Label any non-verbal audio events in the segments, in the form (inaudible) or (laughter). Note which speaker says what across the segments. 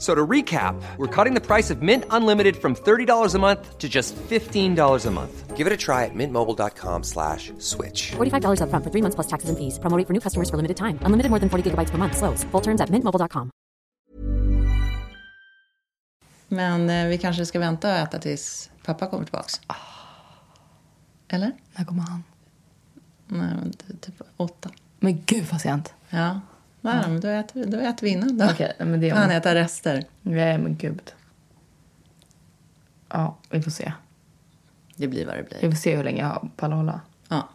Speaker 1: So to recap, we're cutting the price of Mint Unlimited from $30 a month to just $15 a month. Give it a try at mintmobile.com slash switch.
Speaker 2: $45 upfront for three months plus taxes and fees. Promo rate for new customers for limited time. Unlimited more than 40 gigabytes per month. Slows. Full terms at mintmobile.com.
Speaker 3: Men eh, vi kanske ska vänta och äta tills pappa kommer tillbaks. Eller?
Speaker 4: När kommer han?
Speaker 3: Nej, men ty- typ åtta.
Speaker 4: Men gud vad sent.
Speaker 3: Ja. Nej, men då äter, vi, då äter vi innan då.
Speaker 4: Okej, men det-
Speaker 3: Får han äta rester.
Speaker 4: Nej men gud. Ja, vi får se.
Speaker 3: Det blir vad det
Speaker 4: Vi
Speaker 3: blir.
Speaker 4: får se hur länge jag pallar hålla.
Speaker 3: Ja.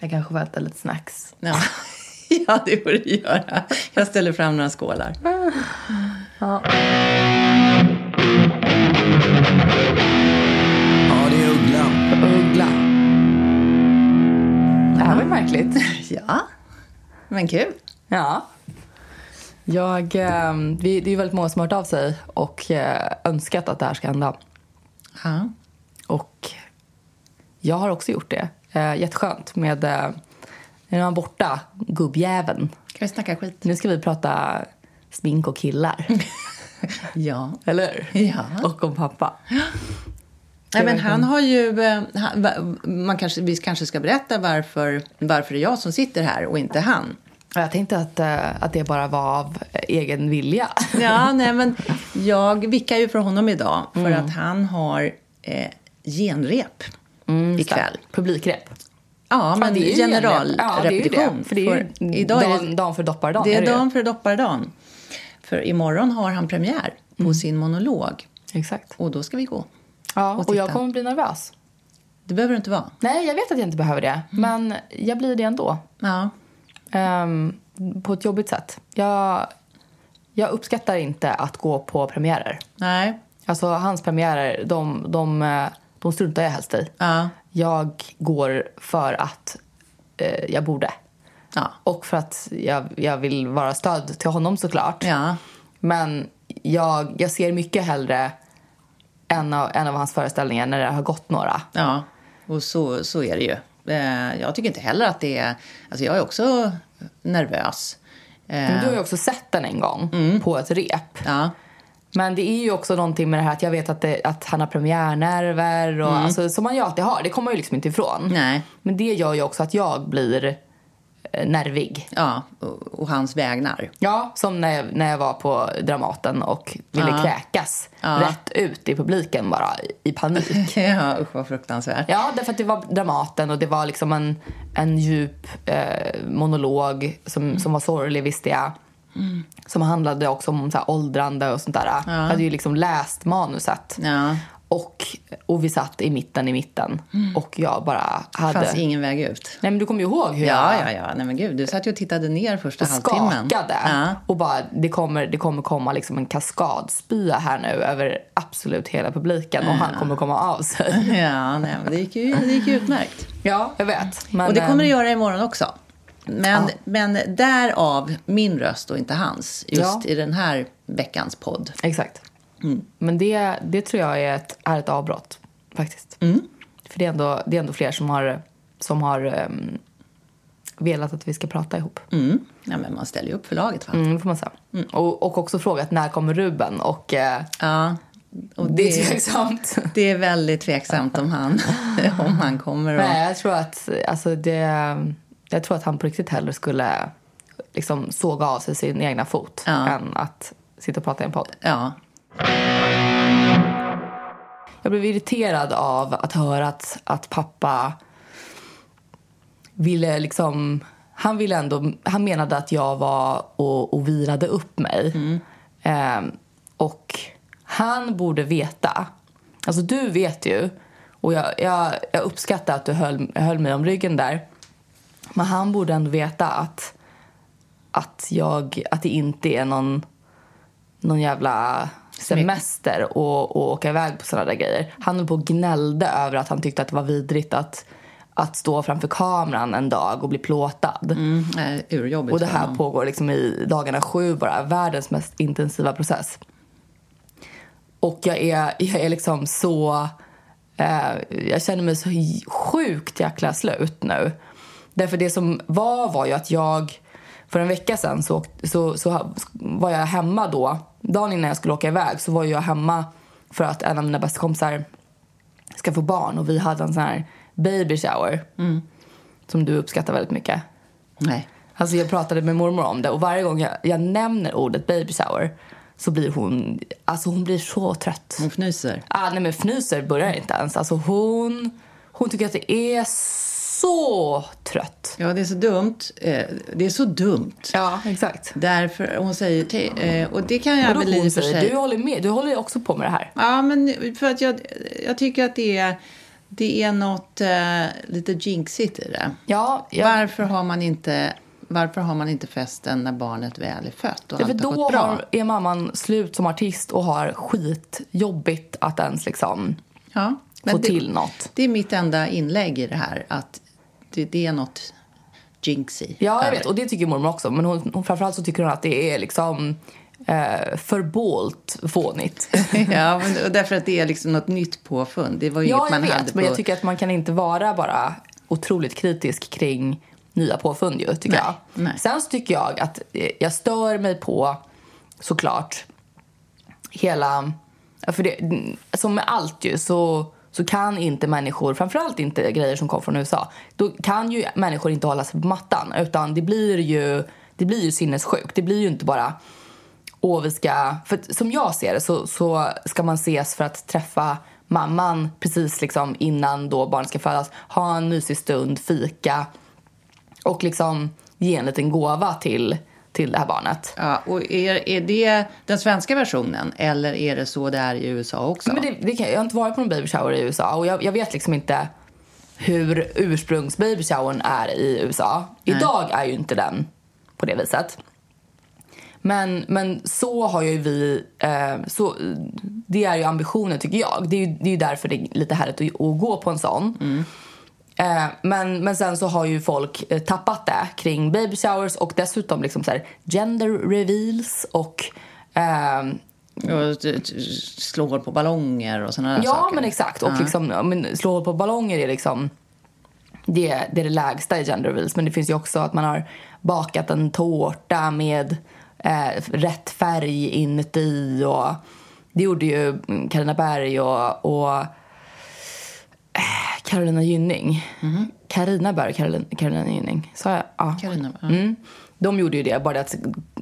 Speaker 4: Jag kanske får äta lite snacks.
Speaker 3: Ja. (laughs) ja, det får du göra. Jag ställer fram några skålar.
Speaker 5: Ja, det är Ugglan.
Speaker 4: Uggla. Det här var ju märkligt. (laughs)
Speaker 3: Ja, men kul.
Speaker 4: Ja. Jag, eh, vi, det är ju väldigt många som har hört av sig och eh, önskat att det här ska hända.
Speaker 3: Ja.
Speaker 4: Och jag har också gjort det. Eh, jätteskönt med eh, när man är borta, gubbjäveln.
Speaker 3: Kan vi snacka skit?
Speaker 4: Nu ska vi prata smink och (laughs) killar.
Speaker 3: Ja.
Speaker 4: Eller hur?
Speaker 3: Ja.
Speaker 4: Och om pappa.
Speaker 3: Nej, men han har ju... eh, Han, va- man kanske, vi kanske ska berätta varför, varför det är jag som sitter här och inte han.
Speaker 4: Ja, Jag tänkte att, eh, att det bara var av eh, egen vilja.
Speaker 3: Ja, nej, men jag vickar ju för honom idag för
Speaker 4: Mm.
Speaker 3: att han har eh, genrep
Speaker 4: Mm,
Speaker 3: ikväll.
Speaker 4: Publikrep.
Speaker 3: Ja, men
Speaker 4: det är ju
Speaker 3: generalrepetition.
Speaker 4: genrep. Ja, det är ju det. För det är ju
Speaker 3: idag är
Speaker 4: dagen-
Speaker 3: det,
Speaker 4: dagen för dopparedagen,
Speaker 3: Det
Speaker 4: är
Speaker 3: är,
Speaker 4: det ju?
Speaker 3: dagen för dopparedagen. För imorgon har han premiär på
Speaker 4: Mm.
Speaker 3: sin monolog.
Speaker 4: Exakt.
Speaker 3: Och då ska vi gå.
Speaker 4: Ja, och,
Speaker 3: titta.
Speaker 4: jag kommer bli nervös.
Speaker 3: Det behöver det inte vara.
Speaker 4: Nej, jag vet att jag inte behöver det. Men jag blir det ändå.
Speaker 3: Ja.
Speaker 4: Ehm, på ett jobbigt sätt. Jag, jag uppskattar inte att gå på premiärer.
Speaker 3: Nej.
Speaker 4: Alltså hans premiärer, de, de, eh, de struntar jag helst i.
Speaker 3: Ja.
Speaker 4: Jag går för att eh, jag borde.
Speaker 3: Ja.
Speaker 4: Och för att jag, jag vill vara stöd till honom såklart.
Speaker 3: Ja.
Speaker 4: Men jag, jag ser mycket hellre en av, en av hans föreställningar när det har gått några.
Speaker 3: Ja, och så, så är det ju. Eh, Jag tycker inte heller att det är... Alltså jag är också nervös. Eh,
Speaker 4: Men du har ju också sett den en gång på ett rep.
Speaker 3: Mm. Ja,
Speaker 4: Men det är ju också någonting med det här att jag vet att, det, att han har premiärnerver och alltså, som man ju alltid har. Det kommer man ju liksom inte ifrån.
Speaker 3: Mm. Nej.
Speaker 4: Men det gör ju också att jag blir eh, nervig.
Speaker 3: ja och, och hans vägnar. (laughs)
Speaker 4: Ja, som när jag, när jag var på Dramaten och ville
Speaker 3: Ja.
Speaker 4: kräkas
Speaker 3: Ja.
Speaker 4: rätt ut i publiken bara i- i panik.
Speaker 3: Ja, usch vad fruktansvärt.
Speaker 4: Ja, därför att det var Dramaten och det var liksom en, en djup eh, monolog som, som var sorglig, visste jag.
Speaker 3: Mm.
Speaker 4: Som handlade också om så här, åldrande och sånt där. Jag hade ju liksom läst manuset.
Speaker 3: Ja. Mm.
Speaker 4: Och, och vi satt i mitten, i mitten. Och jag bara
Speaker 3: Det
Speaker 4: hade...
Speaker 3: fanns ingen väg ut.
Speaker 4: Nej, men du kommer ju ihåg hur
Speaker 3: Ja,
Speaker 4: jag
Speaker 3: ja, ja. Nej men gud, du satt ju och tittade ner första halvtimmen.
Speaker 4: skakade.
Speaker 3: Ja. (laughs)
Speaker 4: Och bara, det kommer, det kommer komma liksom en kaskadspya här nu över absolut hela publiken. Och han kommer komma av sig.
Speaker 3: (laughs) Ja, nej, men det gick ju, det gick ju utmärkt.
Speaker 4: ja, jag vet. Men,
Speaker 3: Och det
Speaker 4: ehm,
Speaker 3: kommer det göra imorgon också. Men, men därav min röst och inte hans, just
Speaker 4: Ja.
Speaker 3: i den här veckans podd.
Speaker 4: Exakt.
Speaker 3: Mm.
Speaker 4: Men det, det tror jag är ett, är ett avbrott, faktiskt.
Speaker 3: Mm.
Speaker 4: För det är, ändå, det är ändå fler som har, som har ehm, velat att vi ska prata ihop.
Speaker 3: Mm. Ja, men man ställer ju upp förlaget. Va?
Speaker 4: Mm, det får man säga. Och, och också frågat när kommer Ruben? Och eh,
Speaker 3: Ja, och
Speaker 4: det är
Speaker 3: det, (laughs)
Speaker 4: tveksamt.
Speaker 3: det är väldigt tveksamt om han, (laughs) om han kommer. Och,
Speaker 4: Nej, jag tror att, alltså det, jag tror att han på riktigt hellre skulle liksom såga av sig sin egna fot
Speaker 3: Ja.
Speaker 4: än att sitta och prata i en podd.
Speaker 3: ja,
Speaker 4: Jag blev irriterad av att höra att, att pappa ville liksom... Han, ville ändå, han menade att jag var och, och vilade upp mig. Ehm, och han borde veta. Alltså du vet ju. Och jag, jag, jag uppskattar att du höll, höll mig om ryggen där. Men han borde ändå veta att, att, jag, att det inte är någon, någon jävla semester och, och åka iväg på sådana där grejer. Han höll på och gnällde över att han tyckte att det var vidrigt att, att stå framför kameran en dag och bli plåtad.
Speaker 3: Mm, nej, urjobbigt.
Speaker 4: Och det
Speaker 3: för
Speaker 4: här
Speaker 3: honom.
Speaker 4: pågår liksom i dagarna sju bara. Världens mest intensiva process. Och jag är, jag är liksom så... Eh, jag känner mig så sjukt jäkla slut nu. Därför det som var var ju att jag... För en vecka sedan så, åkt- så, så var jag hemma då. Dagen innan jag skulle åka iväg så var jag hemma för att en av mina bästa kompisar ska få barn och vi hade en sån här baby shower.
Speaker 3: Mm.
Speaker 4: Som du uppskattar väldigt mycket.
Speaker 3: Nej.
Speaker 4: Alltså jag pratade med mormor om det och varje gång jag, jag nämner ordet baby shower så blir hon, alltså hon blir så trött.
Speaker 3: Hon fnyser.
Speaker 4: Ah, nej men fnyser börjar inte ens. Alltså hon, hon tycker att det är så trött.
Speaker 3: Ja, det är så dumt. Eh, Det är så dumt.
Speaker 4: Ja, exakt.
Speaker 3: Därför hon säger till, eh, och det kan jag
Speaker 4: Vadå
Speaker 3: väl i
Speaker 4: hon
Speaker 3: och för sig...
Speaker 4: säger? Du håller med, du håller ju också på med det här.
Speaker 3: Ja, men för att jag, jag tycker att det är, det är något eh, lite jinxigt i det.
Speaker 4: Ja, jag,
Speaker 3: Varför, har man inte, varför har man inte festen när barnet väl är fött och
Speaker 4: Ja, för
Speaker 3: allt har
Speaker 4: då
Speaker 3: gått bra?
Speaker 4: har, är mamman slut som artist och har skitjobbigt att ens liksom
Speaker 3: ja,
Speaker 4: få
Speaker 3: det,
Speaker 4: till något.
Speaker 3: Det är mitt enda inlägg i det här, att det, det är något jinxy.
Speaker 4: Ja, jag vet. Och det tycker mormor också. Men hon, hon, framförallt så tycker hon att det är liksom eh, förbolt
Speaker 3: (laughs)
Speaker 4: fånigt.
Speaker 3: (laughs) ja, men, och därför att det är liksom något nytt påfund. Det var ju
Speaker 4: ja,
Speaker 3: inget
Speaker 4: jag
Speaker 3: man hade
Speaker 4: vet.
Speaker 3: på...
Speaker 4: Men jag tycker att man kan inte vara bara otroligt kritisk kring nya påfund ju, tycker
Speaker 3: Nej,
Speaker 4: jag.
Speaker 3: nej.
Speaker 4: Sen så tycker jag att eh, jag stör mig på, såklart, hela... ja, För det, som med allt ju så, så kan inte människor, framförallt inte grejer som kom från USA, då kan ju människor inte hålla sig på mattan utan det blir ju, det blir ju sinnessjukt. Det blir ju inte bara och vi ska, för att som jag ser det så, så ska man ses för att träffa mamman precis liksom innan då barnet ska födas, ha en mysig stund, fika och liksom ge en liten gåva till, till det här barnet.
Speaker 3: Ja, och är, är det den svenska versionen eller är det så det är i USA också?
Speaker 4: Men det, det kan, jag har inte varit på någon baby shower i USA och jag, jag vet liksom inte hur ursprungs baby showern är i USA. Idag är ju inte den på det viset. Men, men så har ju vi... Eh, så, det är ju ambitionen, tycker jag. Det är ju, det är ju därför det är lite härligt att, att gå på en sån. Eh, men, men sen så har ju folk eh, tappat det kring baby showers och dessutom liksom så här gender reveals och... ehm,
Speaker 3: Och t- t- slår på ballonger och sådana där
Speaker 4: Ja,
Speaker 3: saker.
Speaker 4: men exakt. Och liksom, ja, men slå hål på ballonger är liksom det, det är det lägsta i gender reveals. Men det finns ju också att man har bakat en tårta med eh, rätt färg inuti. Och det gjorde ju Carina Berg och, och eh, Carolina Gynning.
Speaker 3: Mhm.
Speaker 4: Carina Berg och Carolina, Carolina Gynning. Sa jag? Ja.
Speaker 3: Carolina, ja.
Speaker 4: mm. De gjorde ju det, bara det att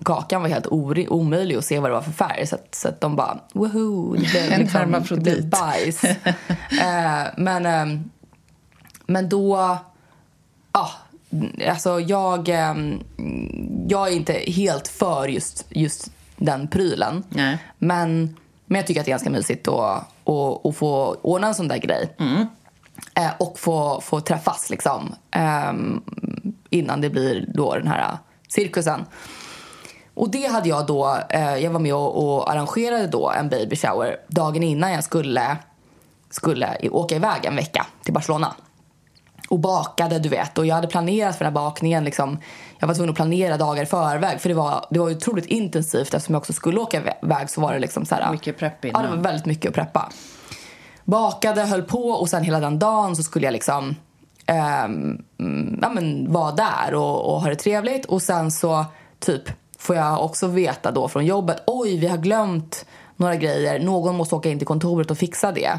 Speaker 4: kakan var helt ori- omöjlig att se vad det var för färg. Så att, så att de bara, woho! Det blev
Speaker 3: En
Speaker 4: liksom, det
Speaker 3: hermafrodit.
Speaker 4: blev bajs. eh, men, ehm, men då... Ja, alltså jag, ehm, jag är inte helt för just, just den prylen.
Speaker 3: Nej.
Speaker 4: Men, men jag tycker att det är ganska mysigt att, att, att få ordna en sån där grej.
Speaker 3: Mm.
Speaker 4: Eh, och få, få träffas liksom. ehm, innan det blir då den här cirkusen. Och det hade jag då, eh, jag var med och, och arrangerade då en baby shower dagen innan jag skulle, skulle i- åka iväg en vecka till Barcelona. Och bakade, du vet. Och jag hade planerat för den här bakningen. Liksom, jag var tvungen att planera dagar i förväg. För det var, det var ju otroligt intensivt eftersom jag också skulle åka vä- iväg så var det liksom så här.
Speaker 3: Mycket prepp
Speaker 4: Ja, det var
Speaker 3: innan.
Speaker 4: väldigt mycket att preppa. Bakade, höll på och sen hela den dagen så skulle jag liksom ehm, mm, ja, men vara där och, och ha det trevligt. Och sen så typ får jag också veta då från jobbet, oj vi har glömt några grejer, någon måste åka in till kontoret och fixa det.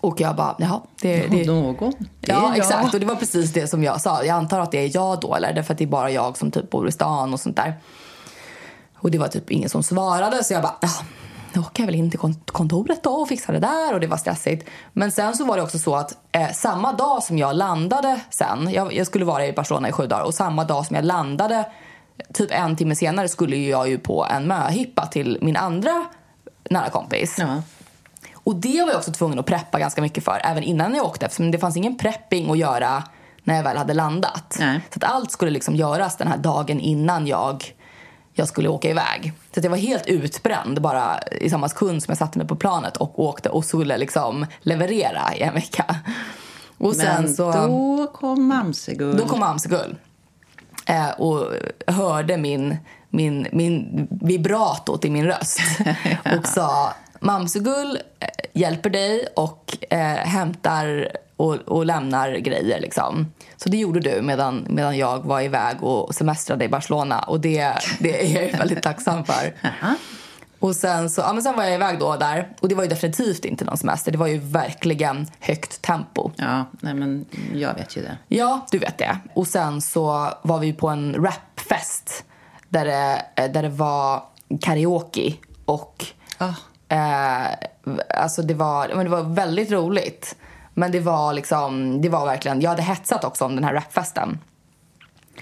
Speaker 4: Och jag bara, jaha. Det, det,
Speaker 3: Någon. Det är
Speaker 4: ja,
Speaker 3: jag.
Speaker 4: exakt. Och det var precis det som jag sa. Jag antar att det är jag då, eller? Därför att det är bara jag som typ bor i stan och sånt där. Och det var typ ingen som svarade, så jag bara... Ah, då åker jag väl in till kont- kontoret då och fixar det där och det var stressigt. Men sen så var det också så att eh, samma dag som jag landade sen, jag, jag skulle vara i Barcelona i sju dagar och samma dag som jag landade typ en timme senare skulle ju jag ju på en möhippa till min andra nära kompis.
Speaker 3: Ja.
Speaker 4: Och det var jag också tvungen att preppa ganska mycket för, även innan jag åkte. Eftersom det fanns ingen prepping att göra när jag väl hade landat.
Speaker 3: Nej.
Speaker 4: Så att allt skulle liksom göras den här dagen innan jag, jag skulle åka iväg. Så att jag var helt utbränd bara i samma sekund som jag satte mig på planet och åkte och skulle liksom leverera i en vecka. Och sen
Speaker 3: Men
Speaker 4: så...
Speaker 3: då kom Mamsegull.
Speaker 4: Då kom Amsegull eh, och hörde min, min, min vibratot i min röst och sa Mamsegull eh, hjälper dig och eh, hämtar och, och lämnar grejer. Liksom. Så det gjorde du medan, medan jag var iväg och semestrade i Barcelona och det, det är jag ju väldigt tacksam för. Och sen, så, ja, men sen var jag iväg då där och det var ju definitivt inte någon semester. Det var ju verkligen högt tempo.
Speaker 3: Ja, nej men jag vet ju det.
Speaker 4: Ja, du vet det. Och sen så var vi på en rapfest där det, eh, där det var karaoke och...
Speaker 3: Ah.
Speaker 4: Eh, alltså det var, men det var väldigt roligt. Men det var liksom, det var verkligen, jag hade hetsat också om den här rapfesten.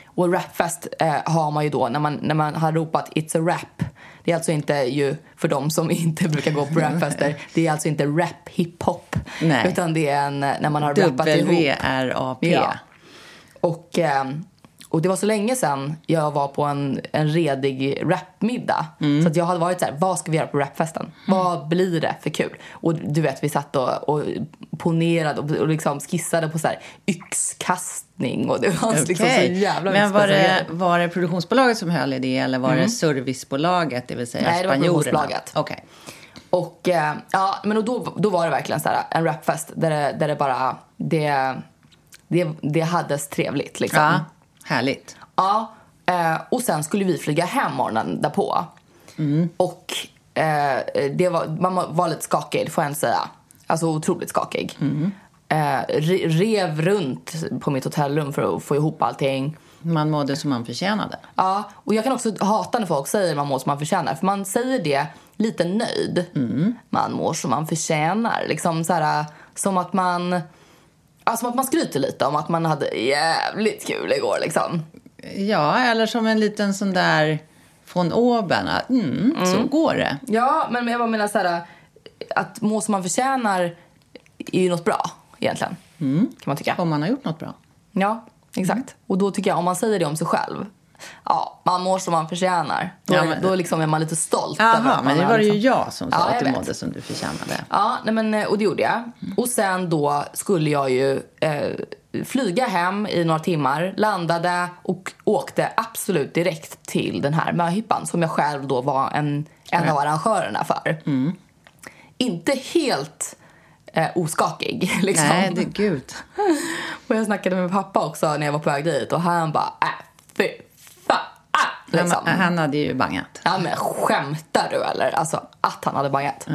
Speaker 4: Och rapfest eh, har man ju då när man, när man har ropat “It's a rap”. Det är alltså inte ju, för de som (laughs) inte brukar
Speaker 3: (laughs)
Speaker 4: gå på rapfester, det är alltså inte rap hiphop.
Speaker 3: Nej.
Speaker 4: Utan det är en, när man har rappat ihop.
Speaker 3: W-R-A-P.
Speaker 4: Ja. Och, eh, och det var så länge sedan jag var på en, en redig rapmiddag.
Speaker 3: Mm.
Speaker 4: Så att jag hade varit så här, vad ska vi göra på rapfesten? Vad blir det för kul? Och du vet, vi satt och, och ponerade och, och liksom skissade på så här yxkastning och det fanns liksom så
Speaker 3: Okej.
Speaker 4: jävla
Speaker 3: Men
Speaker 4: mycket
Speaker 3: var
Speaker 4: konstiga
Speaker 3: det,
Speaker 4: grejer. Mm.
Speaker 3: var det produktionsbolaget som höll i det eller var det servicebolaget, det vill säga
Speaker 4: Nej, det var
Speaker 3: spanjorerna?
Speaker 4: produktionsbolaget.
Speaker 3: Okej.
Speaker 4: Och, eh, ja, men och då, då var det verkligen så här, en rapfest där det, där det bara, det, det, det hades trevligt liksom.
Speaker 3: Ja, härligt.
Speaker 4: Ja, eh, och sen skulle vi flyga hem morgonen därpå. Och eh, det var, man var lite skakig, får jag inte säga. Alltså otroligt skakig. Eh, re- rev runt på mitt hotellrum för att få ihop allting.
Speaker 3: Man mådde som man förtjänade.
Speaker 4: Ja, och jag kan också hata när folk säger man mår som man förtjänar. För man säger det lite nöjd. Man mår som man förtjänar. Liksom så här, som att man... Ja, som att man skryter lite om att man hade jävligt kul igår liksom.
Speaker 3: Ja, eller som en liten sån där von oben. att, Mm, Så går det.
Speaker 4: Ja, men jag bara menar så här, att må som man förtjänar är ju något bra egentligen.
Speaker 3: Mm.
Speaker 4: Kan man tycka.
Speaker 3: Om man har gjort något bra.
Speaker 4: Ja, exakt.
Speaker 3: Mm.
Speaker 4: Och då tycker jag om man säger det om sig själv. Ja, man mår som man förtjänar. Då,
Speaker 3: Ja, men-
Speaker 4: då liksom är man lite stolt. över att
Speaker 3: Jaha,
Speaker 4: man
Speaker 3: men det
Speaker 4: har
Speaker 3: var det ju
Speaker 4: liksom-
Speaker 3: jag som sa
Speaker 4: Ja, jag
Speaker 3: att du
Speaker 4: vet.
Speaker 3: mådde som du förtjänade.
Speaker 4: Ja, nej men, eh, och det gjorde
Speaker 3: Mm.
Speaker 4: jag. Och sen då skulle jag ju eh, flyga hem i några timmar, landade och åkte absolut direkt till den här möhippan som jag själv då var en, en av arrangörerna för.
Speaker 3: Mm.
Speaker 4: Inte helt eh, oskakig (laughs) liksom.
Speaker 3: Nej, det, gud.
Speaker 4: Och jag snackade med pappa också när jag var på väg dit och han bara äh, fy fan.
Speaker 3: Han,
Speaker 4: Liksom.
Speaker 3: han hade ju bangat.
Speaker 4: Ja, men skämtar du eller? Alltså att han hade bangat.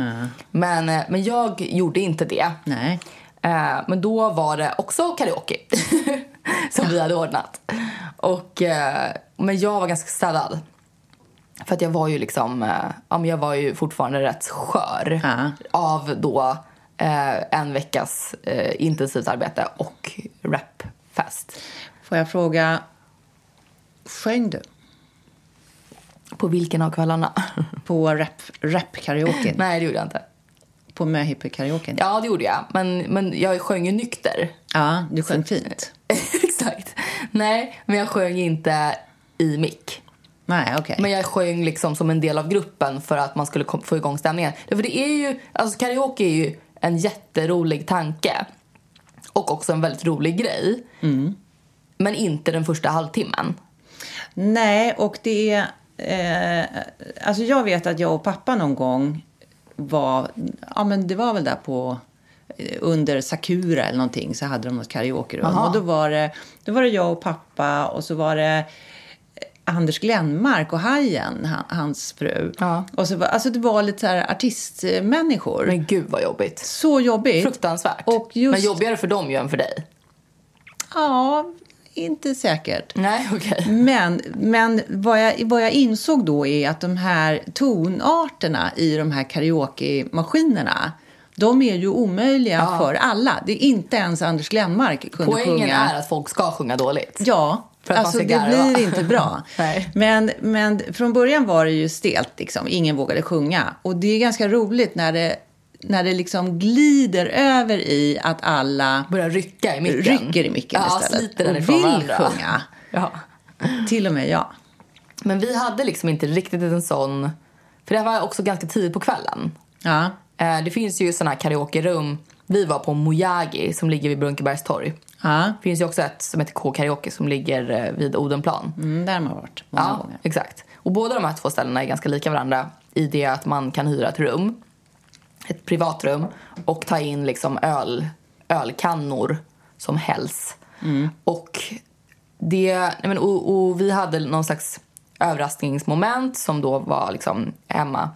Speaker 4: Men, eh, men jag gjorde inte det.
Speaker 3: Nej.
Speaker 4: Eh, men då var det också karaoke (laughs) som vi hade ordnat. Och, eh, men jag var ganska städad. För att jag var ju liksom, eh, ja, men jag var ju fortfarande rätt skör
Speaker 3: Ja.
Speaker 4: av då eh, en veckas eh, intensivt arbete och rapfest.
Speaker 3: Får jag fråga, sjöng du
Speaker 4: På vilken av kvällarna?
Speaker 3: på rap- rap-karaoken?
Speaker 4: Nej, det gjorde jag inte.
Speaker 3: på möhippe-karaoken?
Speaker 4: Ja, det gjorde jag. Men, men jag sjöng ju nykter.
Speaker 3: Ja, du sjöng fint.
Speaker 4: (laughs) Exakt. Nej, men jag sjöng inte i mick.
Speaker 3: Nej, okej.
Speaker 4: Men jag sjöng liksom som en del av gruppen för att man skulle kom- få igång stämningen. För det är ju, alltså karaoke är ju en jätterolig tanke. Och också en väldigt rolig grej.
Speaker 3: Mm.
Speaker 4: Men inte den första halvtimmen.
Speaker 3: Nej, och det är... Eh, alltså jag vet att jag och pappa någon gång var... Ja, men det var väl där på... eh, Under Sakura eller någonting så hade de något karaokerum.
Speaker 4: Aha.
Speaker 3: Och då var, det, då var det jag och pappa och så var det eh, Anders Glenmark och Hajen, han- hans fru.
Speaker 4: Ja.
Speaker 3: Och så var, alltså det var lite så här artistmänniskor.
Speaker 4: Men gud vad jobbigt.
Speaker 3: så jobbigt.
Speaker 4: Fruktansvärt.
Speaker 3: Och just,
Speaker 4: Men jobbigare för dem ju än för dig.
Speaker 3: Ja, inte säkert.
Speaker 4: Nej, okej.
Speaker 3: Men, men vad, jag, vad jag insåg då är att de här tonarterna i de här karaoke-maskinerna de är ju omöjliga för alla. Det är inte ens Anders Glenmark kunde
Speaker 4: Poängen
Speaker 3: sjunga.
Speaker 4: är att folk ska sjunga dåligt.
Speaker 3: Ja,
Speaker 4: För att
Speaker 3: alltså,
Speaker 4: man ska
Speaker 3: det
Speaker 4: garva.
Speaker 3: blir inte bra.
Speaker 4: (laughs) Nej.
Speaker 3: men, men från början var det ju stelt, liksom. ingen vågade sjunga. Och det är ganska roligt när det, när det liksom glider över i att alla
Speaker 4: Börjar rycka i micken.
Speaker 3: rycker i micken
Speaker 4: ja,
Speaker 3: istället.
Speaker 4: sliter den
Speaker 3: och
Speaker 4: ifrån
Speaker 3: vill
Speaker 4: varandra.
Speaker 3: sjunga.
Speaker 4: Ja.
Speaker 3: Till och med jag.
Speaker 4: Men vi hade liksom inte riktigt en sån... För det här var också ganska tidigt på kvällen.
Speaker 3: Ja.
Speaker 4: Eh, Det finns ju såna här karaokerum. Vi var på Mojagi som ligger vid Brunkebergstorg.
Speaker 3: Ja.
Speaker 4: Det finns ju också ett som heter K Karaoke som ligger eh, vid Odenplan.
Speaker 3: Mm, där har man varit många
Speaker 4: ja,
Speaker 3: gånger.
Speaker 4: exakt. Och båda de här två ställena är ganska lika varandra i det att man kan hyra ett rum, ett privatrum och ta in liksom öl, ölkannor som hälls. Och, det, nej men, och, och vi hade någon slags överraskningsmoment som då var liksom hemma.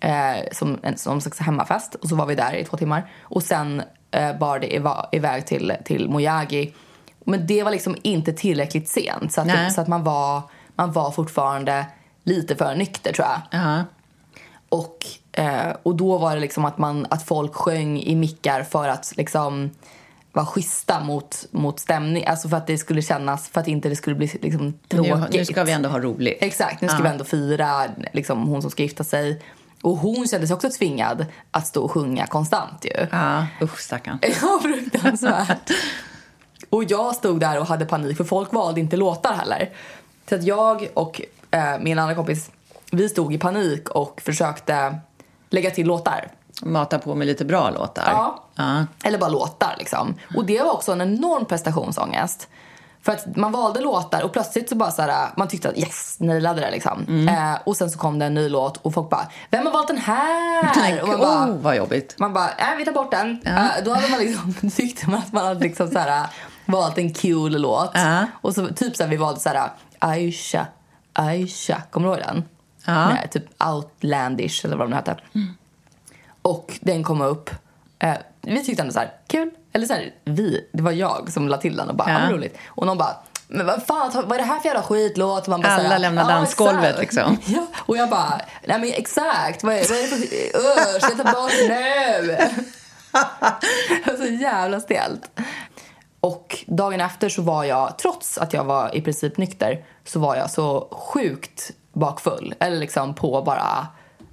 Speaker 4: Eh, som en som en slags hemmafest. Och så var vi där i två timmar. Och sen eh, bar det iva- iväg till, till Mojagi. Men det var liksom inte tillräckligt sent. Så att,
Speaker 3: Nej.
Speaker 4: så att man, var, man var fortfarande lite för nykter tror jag.
Speaker 3: Ja.
Speaker 4: Och, eh, och då var det liksom att, man, att folk sjöng i mickar för att liksom vara schyssta mot, mot stämning. Alltså för att det skulle kännas, för att inte det skulle bli liksom
Speaker 3: Nu,
Speaker 4: tråkigt.
Speaker 3: nu ska vi ändå ha roligt.
Speaker 4: Exakt, nu ska vi ändå fira liksom, hon som ska gifta sig. Och hon kände sig också tvingad att stå och sjunga konstant ju.
Speaker 3: Ja. Usch, stackarn.
Speaker 4: (laughs) Ja, fruktansvärt. och jag stod där och hade panik för folk valde inte låtar heller. Så att jag och eh, min andra kompis, vi stod i panik och försökte lägga till låtar.
Speaker 3: Mata på med lite bra låtar.
Speaker 4: Ja.
Speaker 3: Ja.
Speaker 4: Eller bara låtar liksom. Och det var också en enorm prestationsångest. För att man valde låtar och plötsligt så bara så här, man tyckte att yes, nailade det liksom.
Speaker 3: Mm.
Speaker 4: Eh, och sen så kom det en ny låt och folk bara, vem har valt den här?
Speaker 3: Tänk,
Speaker 4: och man bara,
Speaker 3: oh, vad jobbigt.
Speaker 4: man bara, nej vi tar bort den. Eh, då hade man liksom, (laughs) tyckte man att man hade liksom så här, valt en kul låt.
Speaker 3: Ja.
Speaker 4: Och så typ så här, vi valde så här, Aisha, Aisha, kommer du ihåg den?
Speaker 3: Ja. Mm.
Speaker 4: Med, typ Outlandish eller vad den hette. Och den kom upp. Eh, vi tyckte ändå så här, kul. Eller så här, vi, det var jag som la till den och bara,
Speaker 3: Ja.
Speaker 4: ja. ah, vad roligt. Och någon bara, men vad fan, vad är det här för jävla skitlåt? Och man bara, så här,
Speaker 3: Alla lämnar
Speaker 4: "Ja,
Speaker 3: dansgolvet,
Speaker 4: exakt."
Speaker 3: liksom.
Speaker 4: (laughs) Ja, och jag bara, nej men exakt, vad är, vad är det för usch, jag tar bort nu. (laughs) Jag var så jävla stelt. Och dagen efter så var jag, trots att jag var i princip nykter, så var jag så sjukt bakfull. Eller liksom på bara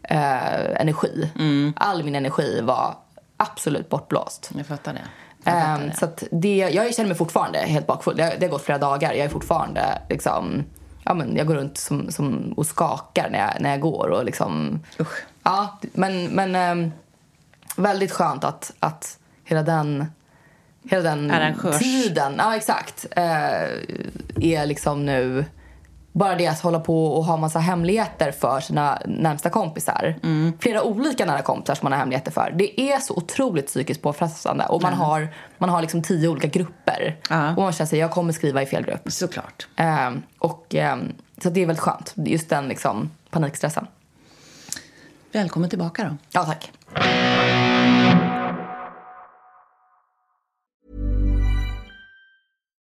Speaker 4: eh, energi.
Speaker 3: Mm.
Speaker 4: All min energi var absolut bortblåst.
Speaker 3: Jag fattar det.
Speaker 4: Ehm, så att det, jag känner mig fortfarande helt bakfull. Det, har- det har gått flera dagar. Jag är fortfarande liksom... Ja, men jag går runt som, som, och skakar när jag, när jag går. Och liksom,
Speaker 3: Usch. Mm.
Speaker 4: Ja, men, men ehm, väldigt skönt att, att hela den, hela den
Speaker 3: Arrangörs-
Speaker 4: tiden ja, exakt, eh, är liksom nu... Bara det att hålla på och ha massa hemligheter för sina närmsta kompisar. Flera olika nära kompisar som man har hemligheter för. Det är så otroligt psykiskt påfrestande. Och man har, man har liksom tio olika grupper.
Speaker 3: Ja.
Speaker 4: Och man känner sig, jag kommer skriva i fel grupp.
Speaker 3: Såklart.
Speaker 4: Eh, och, ehm, så det är väldigt skönt. Just den liksom, panikstressen.
Speaker 3: Välkommen tillbaka då.
Speaker 4: Ja, tack.